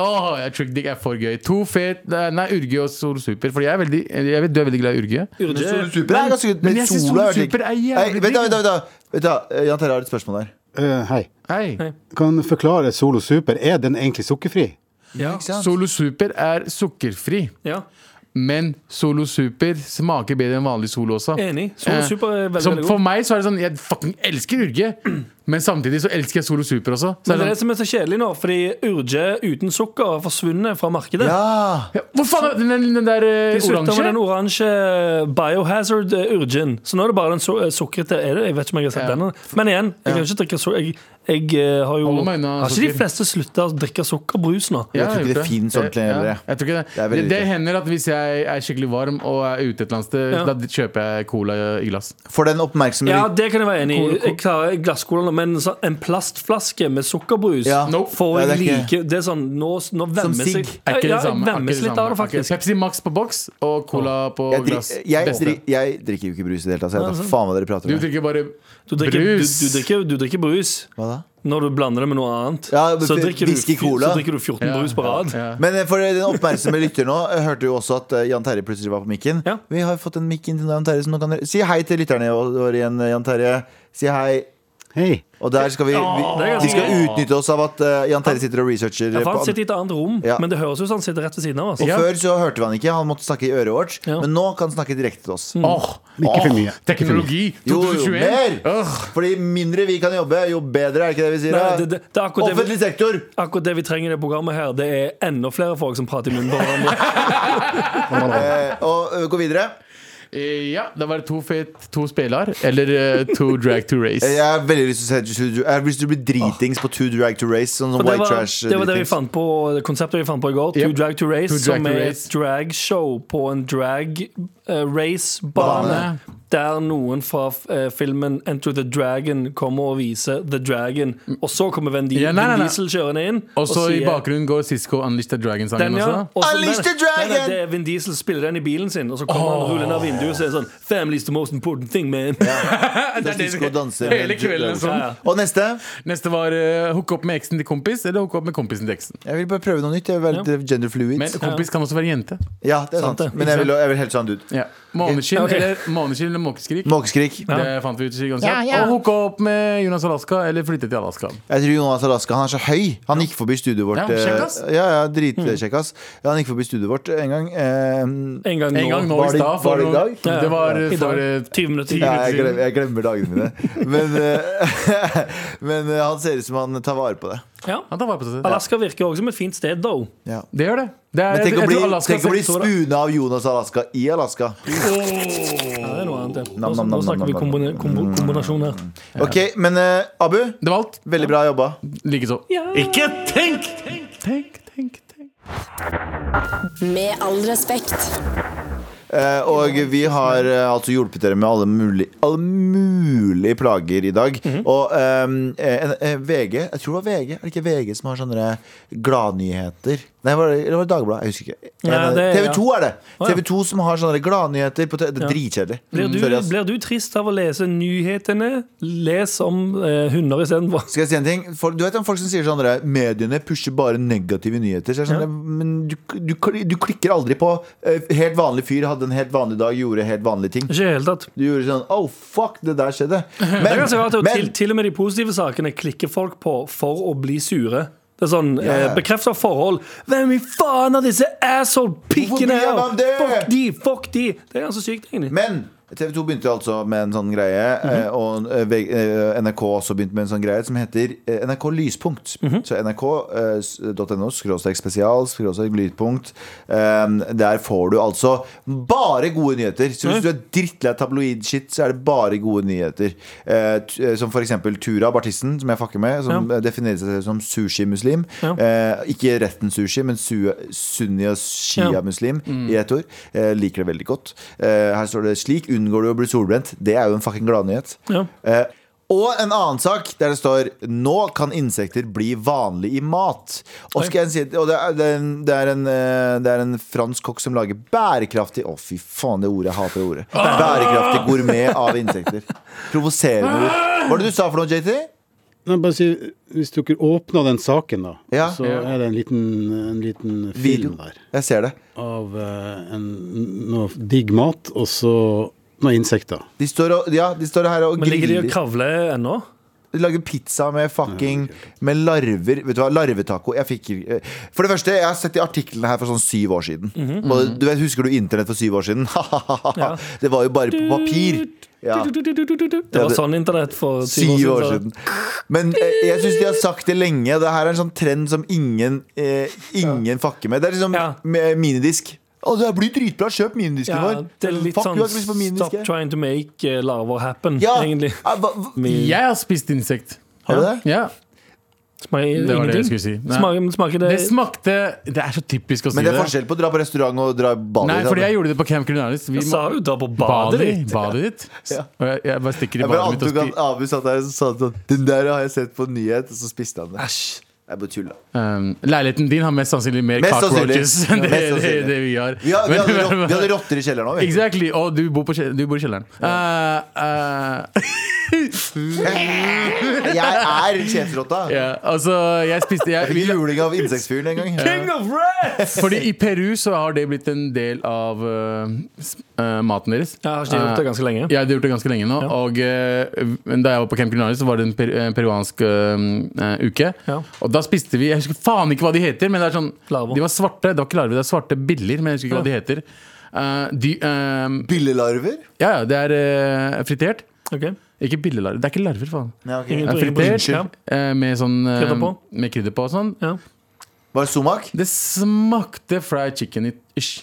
Speaker 4: Åh, ja, trick dick er for gøy. To fet Nei, Urge og Sol Super. For jeg er veldig Jeg vet du er veldig glad i Urge.
Speaker 2: Sol Super er ganske
Speaker 4: men jeg
Speaker 2: altså,
Speaker 4: synes
Speaker 2: Sol er
Speaker 4: Sol Super er
Speaker 2: digg.
Speaker 4: jævlig
Speaker 2: Nei, Vent, da, vent,
Speaker 4: digg,
Speaker 2: da, vent, da. Vent da. eh, Jan Terje har et spørsmål der.
Speaker 6: Eh, hei.
Speaker 4: Hei.
Speaker 6: Kan du forklare Solo Super? Er den egentlig sukkerfri?
Speaker 3: Ja.
Speaker 4: Solo Super er sukkerfri.
Speaker 3: ja.
Speaker 4: Men Solo Super smaker bedre enn vanlig Solo også.
Speaker 3: Enig. Solo
Speaker 4: Eh,
Speaker 3: Super er veldig,
Speaker 4: som
Speaker 3: veldig god.
Speaker 4: For meg så er det sånn Jeg fucking elsker Urge, men samtidig så elsker jeg Solo Super også.
Speaker 3: Men
Speaker 4: Så
Speaker 3: det
Speaker 4: er
Speaker 3: er
Speaker 4: det sånn,
Speaker 3: det som er så kjedelig nå, fordi Urge uten sukker har forsvunnet fra markedet.
Speaker 2: Ja.
Speaker 4: sånn, Hvor faen er den, den, den der eh,
Speaker 3: De slutta med den
Speaker 4: oransje?
Speaker 3: oransje biohazard eh, urgen. Så nå er det bare den su eh, sukkerete. Er det? Jeg vet ikke om jeg har sett
Speaker 4: Ja.
Speaker 3: den. Men igjen, jeg kan ikke drikke sukker. Jeg, jeg eh, har jo
Speaker 4: Holder meg unna
Speaker 3: Har ikke de
Speaker 4: sukker.
Speaker 3: fleste slutta å drikke sukkerbrus nå?
Speaker 4: Ja,
Speaker 2: Jeg tror ikke
Speaker 4: gjorde
Speaker 2: det finnes ordentlig
Speaker 4: Ja,
Speaker 2: heller, jeg.
Speaker 4: jeg tror ikke det.
Speaker 2: Det er
Speaker 4: Det,
Speaker 2: veldig
Speaker 4: det
Speaker 2: lite.
Speaker 4: hender at hvis jeg er skikkelig varm og er ute et eller annet sted,
Speaker 3: Ja.
Speaker 4: da kjøper jeg cola i glass.
Speaker 2: For den oppmerksomme
Speaker 3: Ja, det kan jeg være enig i.
Speaker 4: Cola-
Speaker 3: Jeg klarer glasscola nå, men så- en plastflaske med sukkerbrus
Speaker 2: Ja.
Speaker 4: Nope.
Speaker 3: får
Speaker 2: Nei,
Speaker 3: jeg
Speaker 2: det er ikke-
Speaker 3: like Det er sånn Nå, nå
Speaker 2: Som
Speaker 3: vemmes jeg
Speaker 2: sigg.
Speaker 4: Er ikke
Speaker 3: Ja,
Speaker 4: det samme.
Speaker 3: jeg
Speaker 4: er ikke
Speaker 3: vemmes
Speaker 4: det
Speaker 3: litt av det,
Speaker 4: samme. Er ikke-
Speaker 3: faktisk.
Speaker 4: Pepsi Max på boks og cola på
Speaker 2: jeg, drik,
Speaker 4: glass.
Speaker 2: jeg,
Speaker 4: Beste.
Speaker 2: drik, jeg drikker jo ikke brus i det hele tatt. så Jeg vet da faen hva dere prater
Speaker 4: Du
Speaker 2: om.
Speaker 4: drikker bare
Speaker 3: Du drikker, du,
Speaker 4: brus.
Speaker 3: du, drikker, du drikker brus
Speaker 2: Hva da?
Speaker 3: når du blander det med noe annet.
Speaker 2: Ja,
Speaker 3: så,
Speaker 2: men
Speaker 3: drikker du,
Speaker 2: whisky, cola.
Speaker 3: så drikker du 14
Speaker 4: Ja.
Speaker 3: brus på rad.
Speaker 4: Ja.
Speaker 2: Men eh, for den oppmerksomme lytter nå eh, hørte jo også at eh, Jan Terje plutselig var på mikken.
Speaker 3: Ja.
Speaker 2: Vi har fått en mikk inn til Jan Terje. Så nå kan dere si hei til lytterne våre igjen, eh, Jan Terje. Si hei.
Speaker 6: Hei.
Speaker 2: Og der skal vi, vi,
Speaker 3: Det er ganske
Speaker 2: vi skal
Speaker 3: gøy.
Speaker 2: utnytte oss av at eh, Jan Terje sitter og researcher. eh,
Speaker 3: Ja, for
Speaker 2: på
Speaker 3: han sitter i et annet rom,
Speaker 2: Ja.
Speaker 3: men det høres ut som han sitter rett ved siden av oss.
Speaker 2: og
Speaker 4: Ja.
Speaker 2: Før så hørte vi han ikke, han måtte snakke i øret vårt.
Speaker 3: Ja. Mm.
Speaker 2: Men nå kan han snakke direkte til oss.
Speaker 4: Åh,
Speaker 6: Ikke for mye.
Speaker 4: Teknologi
Speaker 2: Jo, jo,
Speaker 4: 2021.
Speaker 2: mer!
Speaker 4: Åh,
Speaker 2: Fordi mindre vi kan jobbe, jo bedre, er det ikke det vi sier?
Speaker 3: Nei,
Speaker 2: da?
Speaker 3: det, det, det er akkurat det,
Speaker 2: Offentlig sektor!
Speaker 3: vi- akkurat det vi trenger i det programmet her. Det er enda flere folk som prater i munnen på
Speaker 4: <laughs>
Speaker 3: hverandre.
Speaker 2: Eh, og eh, gå videre.
Speaker 4: eh, ja, da var det to fet, to spelar, eller eh,
Speaker 2: <laughs>
Speaker 4: to drag to race.
Speaker 2: Jeg har veldig lyst til å se Jeg har lyst til å bli dritings på Two Drag to Race. Sånn som
Speaker 3: Og det,
Speaker 2: White
Speaker 3: var,
Speaker 2: Trash.
Speaker 3: det var det vi
Speaker 2: dritings.
Speaker 3: fant på det konseptet vi fant på i går. To
Speaker 4: Yep.
Speaker 3: Drag to Race,
Speaker 4: To Drag
Speaker 3: som
Speaker 4: to
Speaker 3: er et
Speaker 4: Race.
Speaker 3: dragshow på en drag-race-bane.
Speaker 2: Bane.
Speaker 3: der noen fra eh, filmen Enter the Dragon kommer og viser The Dragon. Og så kommer Vin Di-
Speaker 4: Mm. Ja, nei, nei,
Speaker 3: Vin
Speaker 4: nei.
Speaker 3: Diesel kjørende inn
Speaker 4: Og så i
Speaker 3: sier-
Speaker 4: bakgrunnen går Sisko Unleash the Dragon-sangen
Speaker 3: eh, Den, ja.
Speaker 4: også.
Speaker 3: Og så-
Speaker 2: Unleash
Speaker 3: nei,
Speaker 2: the
Speaker 3: nei,
Speaker 2: Dragon!
Speaker 3: nei, det er Vin Diesel spiller den i bilen sin, og så kommer han og ruller ned vinduet og sier sånn Family's the most important thing, man.
Speaker 2: Det er det Sisko danser med
Speaker 4: Hele
Speaker 2: Drag-
Speaker 4: kvelden sånn.
Speaker 3: Ja, ja.
Speaker 2: Og neste.
Speaker 4: Neste var uh, hooke opp med eksen til kompis, eller hooke opp med kompisen til eksen.
Speaker 2: Jeg vil bare prøve noe nytt. Jeg vil være litt eh, gender fluid.
Speaker 4: Men kompis kan også være jente.
Speaker 2: ja, det er sant.
Speaker 3: det.
Speaker 2: Men jeg vil, jeg vil sånn helst ha en dude.
Speaker 4: Ja. Måneskinn
Speaker 3: Ja, ok.
Speaker 4: eller, måneskinn eller måkeskrik.
Speaker 2: Måkeskrik.
Speaker 4: Det fant vi ut i gangen. Og hooke opp med Jonas Alaska, eller flytte til Alaska.
Speaker 2: Jeg tror Jonas Alaska han er så høy. Han gikk forbi studioet vårt.
Speaker 4: Ja,
Speaker 2: eh,
Speaker 4: kjekkass.
Speaker 2: ja, ja, dritkjekk, ass.
Speaker 3: Mm.
Speaker 2: Ja, han gikk forbi studioet vårt en gang. eh,
Speaker 3: <laughs> En gang nå.
Speaker 4: En gang nå
Speaker 2: Var
Speaker 4: i
Speaker 2: det-
Speaker 4: stad. for
Speaker 2: var det i
Speaker 4: noen-
Speaker 2: dag?
Speaker 3: Ja, ja.
Speaker 4: Det var eh,
Speaker 3: I dag.
Speaker 4: for eh,
Speaker 3: 20 minutter.
Speaker 2: ja, jeg, glemmer, jeg glemmer dagene mine. <laughs> Men, eh, <laughs> men eh, han ser ut som han tar vare på det.
Speaker 3: Ja.
Speaker 4: Han tar vare på seg selv.
Speaker 3: Alaska virker også som et fint sted, though.
Speaker 2: Ja.
Speaker 4: Det gjør det. det er,
Speaker 2: Men tenk å
Speaker 4: jeg
Speaker 2: bli,
Speaker 4: tror Alaska
Speaker 2: tenk å bli
Speaker 4: seks år, da.
Speaker 2: spuna av Jonas Alaska i Alaska.
Speaker 3: Ja, det er noe annet. ja.
Speaker 2: Nam, nam,
Speaker 3: Nå
Speaker 2: nam,
Speaker 3: snakker vi
Speaker 2: nam,
Speaker 3: kombine- kombo- kombinasjon her.
Speaker 2: Ok, Men eh, Abu,
Speaker 4: Det var alt.
Speaker 2: veldig bra jobba.
Speaker 4: Likeså.
Speaker 3: Ikke tenk!
Speaker 4: Tenk, tenk, tenk.
Speaker 1: Med all respekt.
Speaker 2: Eh, og vi har eh, altså hjulpet dere med alle mulige, alle mulige plager i dag. Og ehm, eh, en- eh, VG, jeg tror det var VG, er det ikke VG som har sånne eh, gladnyheter? Nei, var det, eller var det Dagbladet? Jeg husker ikke.
Speaker 3: Ja,
Speaker 2: Eh,
Speaker 3: det-
Speaker 2: TV 2 er det!
Speaker 3: Å, ja.
Speaker 2: TV 2 som har sånne gladnyheter. På te- det er dritkjedelig.
Speaker 3: Blir du,
Speaker 2: Sorry, ass.
Speaker 3: blir du trist av å lese nyhetene? Les om eh, hunder istedenfor.
Speaker 2: Skal jeg si en ting? Folk- du vet om folk som sier sånn der, Mediene pusher bare negative nyheter så er det sånn, Men du, du, kli- du klikker aldri på eh, Helt vanlig fyr hadde en helt vanlig dag Gjorde helt vanlige ting
Speaker 3: <laughs> Ikke i det hele tatt.
Speaker 2: Du gjorde sånn, oh fuck, det der skjedde
Speaker 3: <laughs> Det er
Speaker 2: Men,
Speaker 3: ganske rart at til,
Speaker 2: men
Speaker 3: til og med de positive sakene klikker folk på for å bli sure. Det er sånn,
Speaker 2: ja.
Speaker 3: eh, Bekrefter forhold. Hvem i faen er disse
Speaker 2: Hvorfor
Speaker 3: asshole-pikkene
Speaker 2: bryr jeg
Speaker 3: her?
Speaker 2: meg om det?
Speaker 3: Fuck de, fuck de! Det er ganske sykt, egentlig.
Speaker 2: men TV 2 begynte altså med en sånn greie eh,
Speaker 3: Mhm.
Speaker 2: Og eh, V- eh, NRK også begynte med en sånn greie Som heter eh, NRK Lyspunkt
Speaker 3: Mhm.
Speaker 2: Så eh, nrk.no Skråstek spesial, skråstek lyspunkt Eh, Der får du altså Bare gode nyheter Så
Speaker 3: Mhm.
Speaker 2: hvis du er drittlei av tabloid shit Så er det bare gode nyheter Eh, t- eh, Som for eksempel Turab, artisten Som jeg fucker med Som
Speaker 3: Ja.
Speaker 2: eh, definerer seg som sushi-muslim
Speaker 3: Ja.
Speaker 2: Eh, Ikke retten sushi Men su- sunni og shia
Speaker 3: Ja.
Speaker 2: muslim i ett ord. Eh, liker det veldig godt. Eh, her står det 'slik unngår du å bli solbrent'. Det er jo en fucking gladnyhet.
Speaker 3: Ja.
Speaker 2: Eh, og en annen sak der det står 'Nå kan insekter bli vanlig i mat'. Og, skal jeg si, og det, er, det, er en, det, er en, eh, det er en fransk kokk som lager bærekraftig Å, fy faen, det ordet. Jeg hater det ordet.
Speaker 3: Ah!
Speaker 2: Bærekraftig gourmet av insekter. Provoserende ord. Hva var det du sa for noe, JT?
Speaker 6: Nei, bare si, hvis dere åpner den saken, da,
Speaker 2: Ja.
Speaker 6: så er det en liten, en liten
Speaker 2: Video.
Speaker 6: film der
Speaker 2: Jeg ser det.
Speaker 6: av eh, en, noe digg mat og så noen insekter.
Speaker 2: De står, og, ja, de står her og
Speaker 3: Men ligger de
Speaker 2: griller.
Speaker 3: og kravler ennå?
Speaker 2: De lager pizza med fucking Med larver. Vet du hva, larvetaco. Jeg fikk eh, For det første, jeg har sett de artiklene her for sånn syv år siden. Og du vet, Husker du internett for syv år siden? <laughs>
Speaker 3: Ja.
Speaker 2: det var jo bare på papir. Ja.
Speaker 3: Det
Speaker 2: Ja,
Speaker 3: var
Speaker 2: det-
Speaker 3: sånn internett for
Speaker 2: Syv år siden. Men eh, jeg syns de har sagt det lenge. Det her er en sånn trend som ingen eh, Ingen fucker med. Det er liksom
Speaker 3: Ja.
Speaker 2: med minidisk. Å, det blir dritbra! Kjøp minidisken
Speaker 3: Ja,
Speaker 2: vår!
Speaker 3: det er litt
Speaker 2: Fuck,
Speaker 3: sånn
Speaker 2: du har ikke lyst på minidisk,
Speaker 3: Stop
Speaker 2: jeg.
Speaker 3: trying to make eh, larver happen,
Speaker 2: Ja.
Speaker 3: egentlig.
Speaker 2: Ah, hva- hva-
Speaker 3: Med,
Speaker 4: Jeg har spist insekt.
Speaker 2: Har du det?
Speaker 4: Ja.
Speaker 3: Smaker
Speaker 4: Det var det jeg
Speaker 3: ingenting.
Speaker 4: skulle si. Nei.
Speaker 3: Smaker, smaker det
Speaker 4: Det smakte Det er så typisk å si
Speaker 2: Men det
Speaker 4: det.
Speaker 2: er forskjell på å dra på restaurant og dra i Bali.
Speaker 4: Nei,
Speaker 2: da.
Speaker 4: fordi jeg gjorde det på Camp Culinaris. Vi
Speaker 3: Jeg sa jo da på
Speaker 4: badet
Speaker 3: badet ditt.
Speaker 4: ditt. Badet ditt.
Speaker 2: <laughs> Ja.
Speaker 4: Og jeg, jeg bare stikker i
Speaker 2: Jeg bare
Speaker 4: badet
Speaker 2: antok
Speaker 4: mitt og
Speaker 2: at
Speaker 4: skriver
Speaker 2: Abu satt der og sa sånn Den der har jeg sett på nyhet, og så spiste han det.
Speaker 3: Æsj.
Speaker 2: Jeg bare tulla.
Speaker 4: um, Leiligheten din har mest sannsynlig mer
Speaker 2: Mest
Speaker 4: cockroaches
Speaker 2: sannsynlig.
Speaker 4: enn det,
Speaker 2: Mest
Speaker 4: det,
Speaker 2: sannsynlig.
Speaker 4: det vi har.
Speaker 2: Vi, har, vi,
Speaker 4: Men-
Speaker 2: <laughs> hadde, rot- vi hadde rotter i kjelleren òg.
Speaker 4: <laughs> Exactly. Og du bor, på, kje- du bor i kjelleren. Eh, eh,
Speaker 2: <laughs> Jeg er sjefsrotta.
Speaker 4: ja, altså, jeg spiste jeg,
Speaker 2: Jeg fikk
Speaker 4: vi,
Speaker 2: juling av insektfyren en gang.
Speaker 3: King of rats!
Speaker 4: Fordi i Peru så har det blitt en del av eh, s- eh, maten deres. Eh,
Speaker 3: Jeg har ikke gjort det ganske lenge.
Speaker 4: Ja, de har gjort det ganske lenge nå. Og eh, men da jeg var på Camp Culinaris, så var det en per, en peruansk eh, eh, uke.
Speaker 3: Ja.
Speaker 4: Og da spiste vi Jeg husker faen ikke hva de heter, men det er sånn
Speaker 3: Larver.
Speaker 4: De var svarte. Det var ikke larver, det er svarte biller, men jeg husker ikke
Speaker 3: Ja.
Speaker 4: hva de heter. Eh, de, eh,
Speaker 2: Billelarver?
Speaker 4: ja, ja, det er eh, fritert.
Speaker 3: Ok.
Speaker 4: Ikke billelarver. Det er ikke larver, faen.
Speaker 2: Nei, ok.
Speaker 3: Ingen
Speaker 4: Ja,
Speaker 3: på- ingen på-
Speaker 4: fritert
Speaker 3: Ja.
Speaker 4: eh, med sånn eh,
Speaker 3: Krydder på.
Speaker 4: Med krydder på og sånn.
Speaker 3: Ja.
Speaker 2: Var det sumak?
Speaker 4: Det smakte fried chicken i- ish.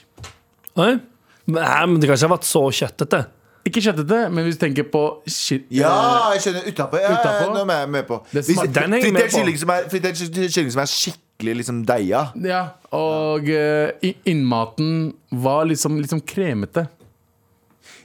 Speaker 3: Oi. Nei, men det kan ikke ha vært så kjøttete.
Speaker 4: Ikke kjøttete, men hvis du tenker på shit
Speaker 2: Ja, jeg skjønner. Utapå. Ja, ja,
Speaker 4: Utapå.
Speaker 2: nå er jeg med på.
Speaker 4: Det
Speaker 2: Hvis-
Speaker 4: smak-
Speaker 3: den er jeg med
Speaker 2: Fritert
Speaker 3: på.
Speaker 2: kylling som er- fritert kylling som er skikkelig liksom deiga.
Speaker 4: Ja, og eh, i- innmaten var liksom, liksom kremete.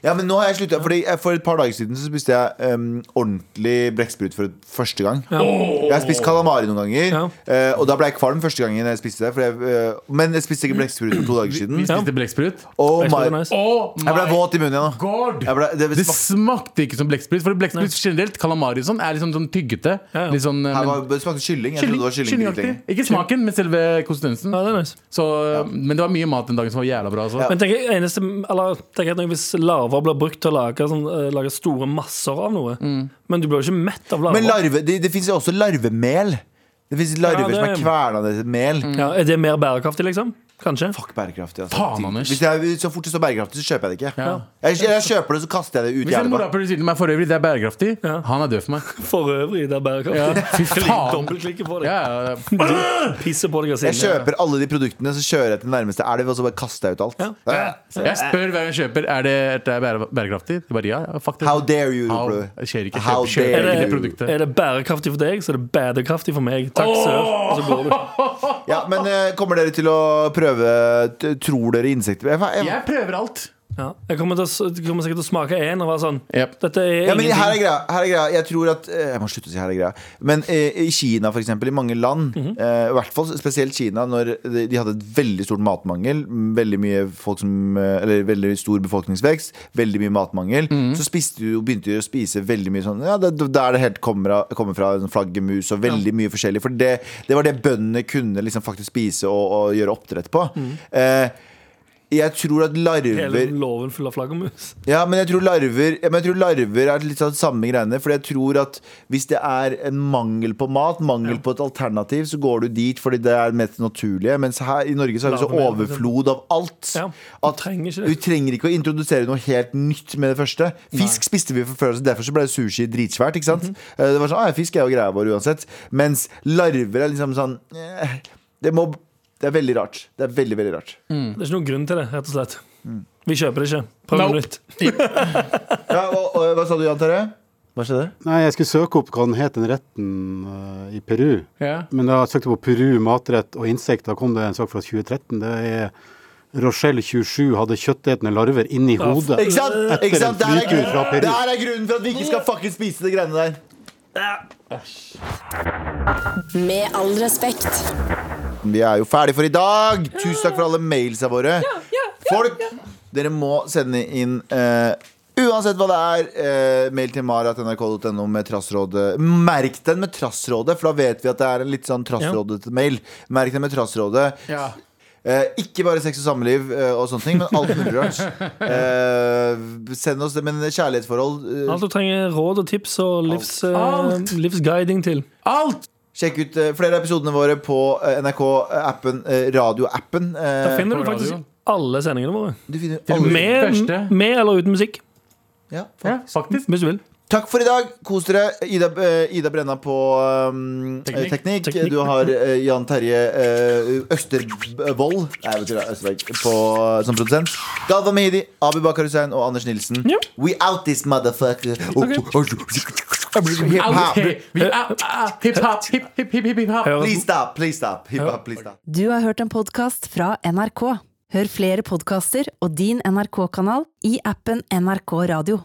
Speaker 2: Ja, men nå har jeg sluttet, fordi jeg- For et par dager siden så spiste jeg em, ordentlig brekksprut for første gang. Jeg har spist kalamari noen ganger,
Speaker 3: Ja.
Speaker 2: eh, og da ble jeg kvalm første gangen jeg spiste det. For jeg, eh, men jeg spiste ikke brekksprut for to dager
Speaker 4: Vi
Speaker 2: siden.
Speaker 4: spiste blekksprut.
Speaker 2: Oh
Speaker 3: Det er ikke så
Speaker 2: my
Speaker 3: nice.
Speaker 4: Oh
Speaker 2: Jeg ble våt i munnen igjen. nå.
Speaker 4: god!
Speaker 2: Jeg ble, det
Speaker 4: Det
Speaker 2: smakte,
Speaker 4: smakte ikke som blekksprut. For blekksprut generelt, calamari og sånn, er liksom sånn tyggete.
Speaker 3: Ja, ja.
Speaker 4: Litt sånn, eh,
Speaker 2: her
Speaker 4: men,
Speaker 2: var, det smakte kylling. Jeg trodde det
Speaker 4: kylling,
Speaker 2: var
Speaker 4: kyllingaktig.
Speaker 2: kylling.
Speaker 4: Ikke smaken, men selve konsistensen.
Speaker 3: Ja, det er nice.
Speaker 4: Så, eh, Men det var mye mat den dagen som var jævla bra. Altså.
Speaker 3: Men tenk, jeg, eneste, eller, tenk jeg, hvis larver blir brukt til å lage, sånn, eh, lage store masser av noe Men du blir jo ikke mett av
Speaker 2: Mm.
Speaker 3: larver.
Speaker 2: Men larve, det, det fins jo også larvemel. Det fins larver
Speaker 3: Ja, det-
Speaker 2: som er kvernende mel.
Speaker 3: ja, er det mer bærekraftig, liksom? Kanskje?
Speaker 2: Fuck bærekraftig. Altså.
Speaker 4: Faen, Anders.
Speaker 2: Hvis jeg, så fort det står bærekraftig, så kjøper jeg det ikke.
Speaker 4: Ja.
Speaker 2: Jeg, jeg kjøper det, så kaster jeg det ut i
Speaker 4: Hvis en
Speaker 2: elva.
Speaker 4: morapuler sier til meg for øvrig det er bærekraftig,
Speaker 3: Ja.
Speaker 4: han er død
Speaker 2: <laughs>
Speaker 4: for meg.
Speaker 3: For øvrig, <laughs> det er bærekraftig.
Speaker 4: Fy faen.
Speaker 3: Dobbeltklikke på det.
Speaker 4: Ja, ja, ja.
Speaker 3: Pisse på deg og
Speaker 2: Jeg
Speaker 3: sinne.
Speaker 2: kjøper alle de produktene, så kjører jeg til nærmeste elv, og så bare kaster jeg ut alt.
Speaker 3: Ja.
Speaker 2: Ja.
Speaker 4: Jeg spør hver gang jeg kjøper Er det, er det bære- bærekraftig. De bare ja, ja, fuck det.
Speaker 2: How dare you,
Speaker 4: How-
Speaker 2: Roblo.
Speaker 4: Det skjer ikke.
Speaker 2: How
Speaker 4: Kjøp, kjøp
Speaker 2: dare
Speaker 4: ikke det
Speaker 2: you.
Speaker 4: produktet.
Speaker 3: Er det bærekraftig for deg, så er det bærekraftig for meg. Takk, sør. Og så går du.
Speaker 2: Ja, men eh, kommer dere til å prøve t- Tror dere insekter jeg, jeg,
Speaker 4: Jeg prøver alt.
Speaker 3: Ja. Jeg kommer, til å, s- jeg kommer sikkert til å smake én og være sånn
Speaker 4: Yep.
Speaker 3: Dette er
Speaker 2: Ja, men
Speaker 3: ingenting.
Speaker 2: her er greia. Her er greia. Jeg tror at eh, Jeg må slutte å si her er greia. Men eh, i Kina, for eksempel, i mange land,
Speaker 3: Mhm.
Speaker 2: eh, i hvert fall spesielt Kina, når de, de hadde et veldig stort matmangel, veldig mye folk som eh, Eller veldig stor befolkningsvekst, veldig mye matmangel,
Speaker 3: Mhm.
Speaker 2: så spiste du, begynte de å spise veldig mye sånn Ja, det, der det helt kommer, av- kommer fra, en flaggermus og veldig mye forskjellig. For det, det var det bøndene kunne liksom faktisk spise og, og gjøre oppdrett på. Eh, jeg tror at larver
Speaker 3: Mhm. Hele låven full av flaggermus.
Speaker 2: ja, men jeg tror larver, ja, men jeg tror larver er litt sånn samme greiene. For jeg tror at hvis det er en mangel på mat, mangel på et alternativ, så går du dit fordi det er det mest naturlige. Mens her i Norge så har vi så
Speaker 3: Larver, ja.
Speaker 2: overflod av alt.
Speaker 3: liksom. Ja, du
Speaker 2: at
Speaker 3: trenger ikke det.
Speaker 2: vi trenger ikke å introdusere noe helt nytt med det første. Fisk spiste vi for før, så derfor så ble sushi dritsvært. Ikke
Speaker 3: Mhm.
Speaker 2: sant? Eh, Det var sånn, ah, ja, Fisk er jo greia vår uansett. Mens larver er liksom sånn eh, Det, må, det er veldig rart. Det er veldig, veldig rart.
Speaker 4: Mm.
Speaker 3: Det er ikke noen grunn til det, rett og slett. Vi kjøper det ikke. Prøv noe
Speaker 4: Nope.
Speaker 3: nytt.
Speaker 2: Ja, og, og, hva sa du, Jan Terje? Hva skjedde?
Speaker 6: Nei, jeg skulle søke opp hva den het, den retten eh, i Peru.
Speaker 4: Ja.
Speaker 6: Men da søkte jeg på Peru matrett og insekter, da kom det en sak fra 2013. Det er Rochelle 27 hadde kjøttetende larver inni
Speaker 3: Ja,
Speaker 6: hodet.
Speaker 2: Ikke sant? Ikke sant? Der, er
Speaker 6: en flytur fra
Speaker 2: grunnen,
Speaker 6: Peru.
Speaker 2: der er grunnen for at vi ikke skal fuckings spise de greiene der.
Speaker 1: Med all respekt.
Speaker 2: Vi er jo ferdige for i dag. Tusen takk for alle mailsa våre. Folk, dere må sende inn eh, Uansett hva det er, eh, mail til mara.nrk.no med trassrådet. Merk den med trassrådet, for da vet vi at det er en litt sånn trassrådete mail. Merk den med trassrådet.
Speaker 4: Ja.
Speaker 2: Eh, ikke bare sex og samliv eh, og sånne ting, men alt mulig <laughs> rart. Eh, send oss det, men kjærlighetsforhold eh,
Speaker 3: Alt du trenger råd og tips og livs, eh,
Speaker 4: Alt.
Speaker 3: livsguiding til.
Speaker 4: Alt!
Speaker 2: Sjekk ut eh, flere av episodene våre på eh, NRK-appen, eh, radioappen. Eh,
Speaker 3: Der finner du
Speaker 4: på
Speaker 3: faktisk
Speaker 4: radio.
Speaker 3: alle sendingene våre.
Speaker 2: du finner
Speaker 4: og
Speaker 2: alle.
Speaker 4: med-
Speaker 3: Med,
Speaker 4: Første.
Speaker 3: med eller uten musikk,
Speaker 2: Ja,
Speaker 4: Ja,
Speaker 2: faktisk.
Speaker 4: faktisk.
Speaker 3: hvis du vil.
Speaker 2: Takk for i dag. Kos dere. Ida, eh, Ida Brenna på um, teknikk.
Speaker 4: Teknikk.
Speaker 2: teknikk.
Speaker 3: Teknikk.
Speaker 2: Du har eh, Jan Terje eh, Østervold Nei, vet du det, Østerberg på, som produsent. Galvan Mehidi, Abu Bakar Hussein og Anders Nilsen.
Speaker 3: Ja.
Speaker 2: We out this motherfucker. Hip-hop.
Speaker 4: Out, vi er- ah, Hip-hop, hip, hip, hip, hip, hip, hop.
Speaker 3: Høres
Speaker 2: Please stop. Please stop. Hip-hop, please stop.
Speaker 7: Du har hørt en podkast fra NRK. Hør flere podkaster og din NRK-kanal i appen NRK Radio.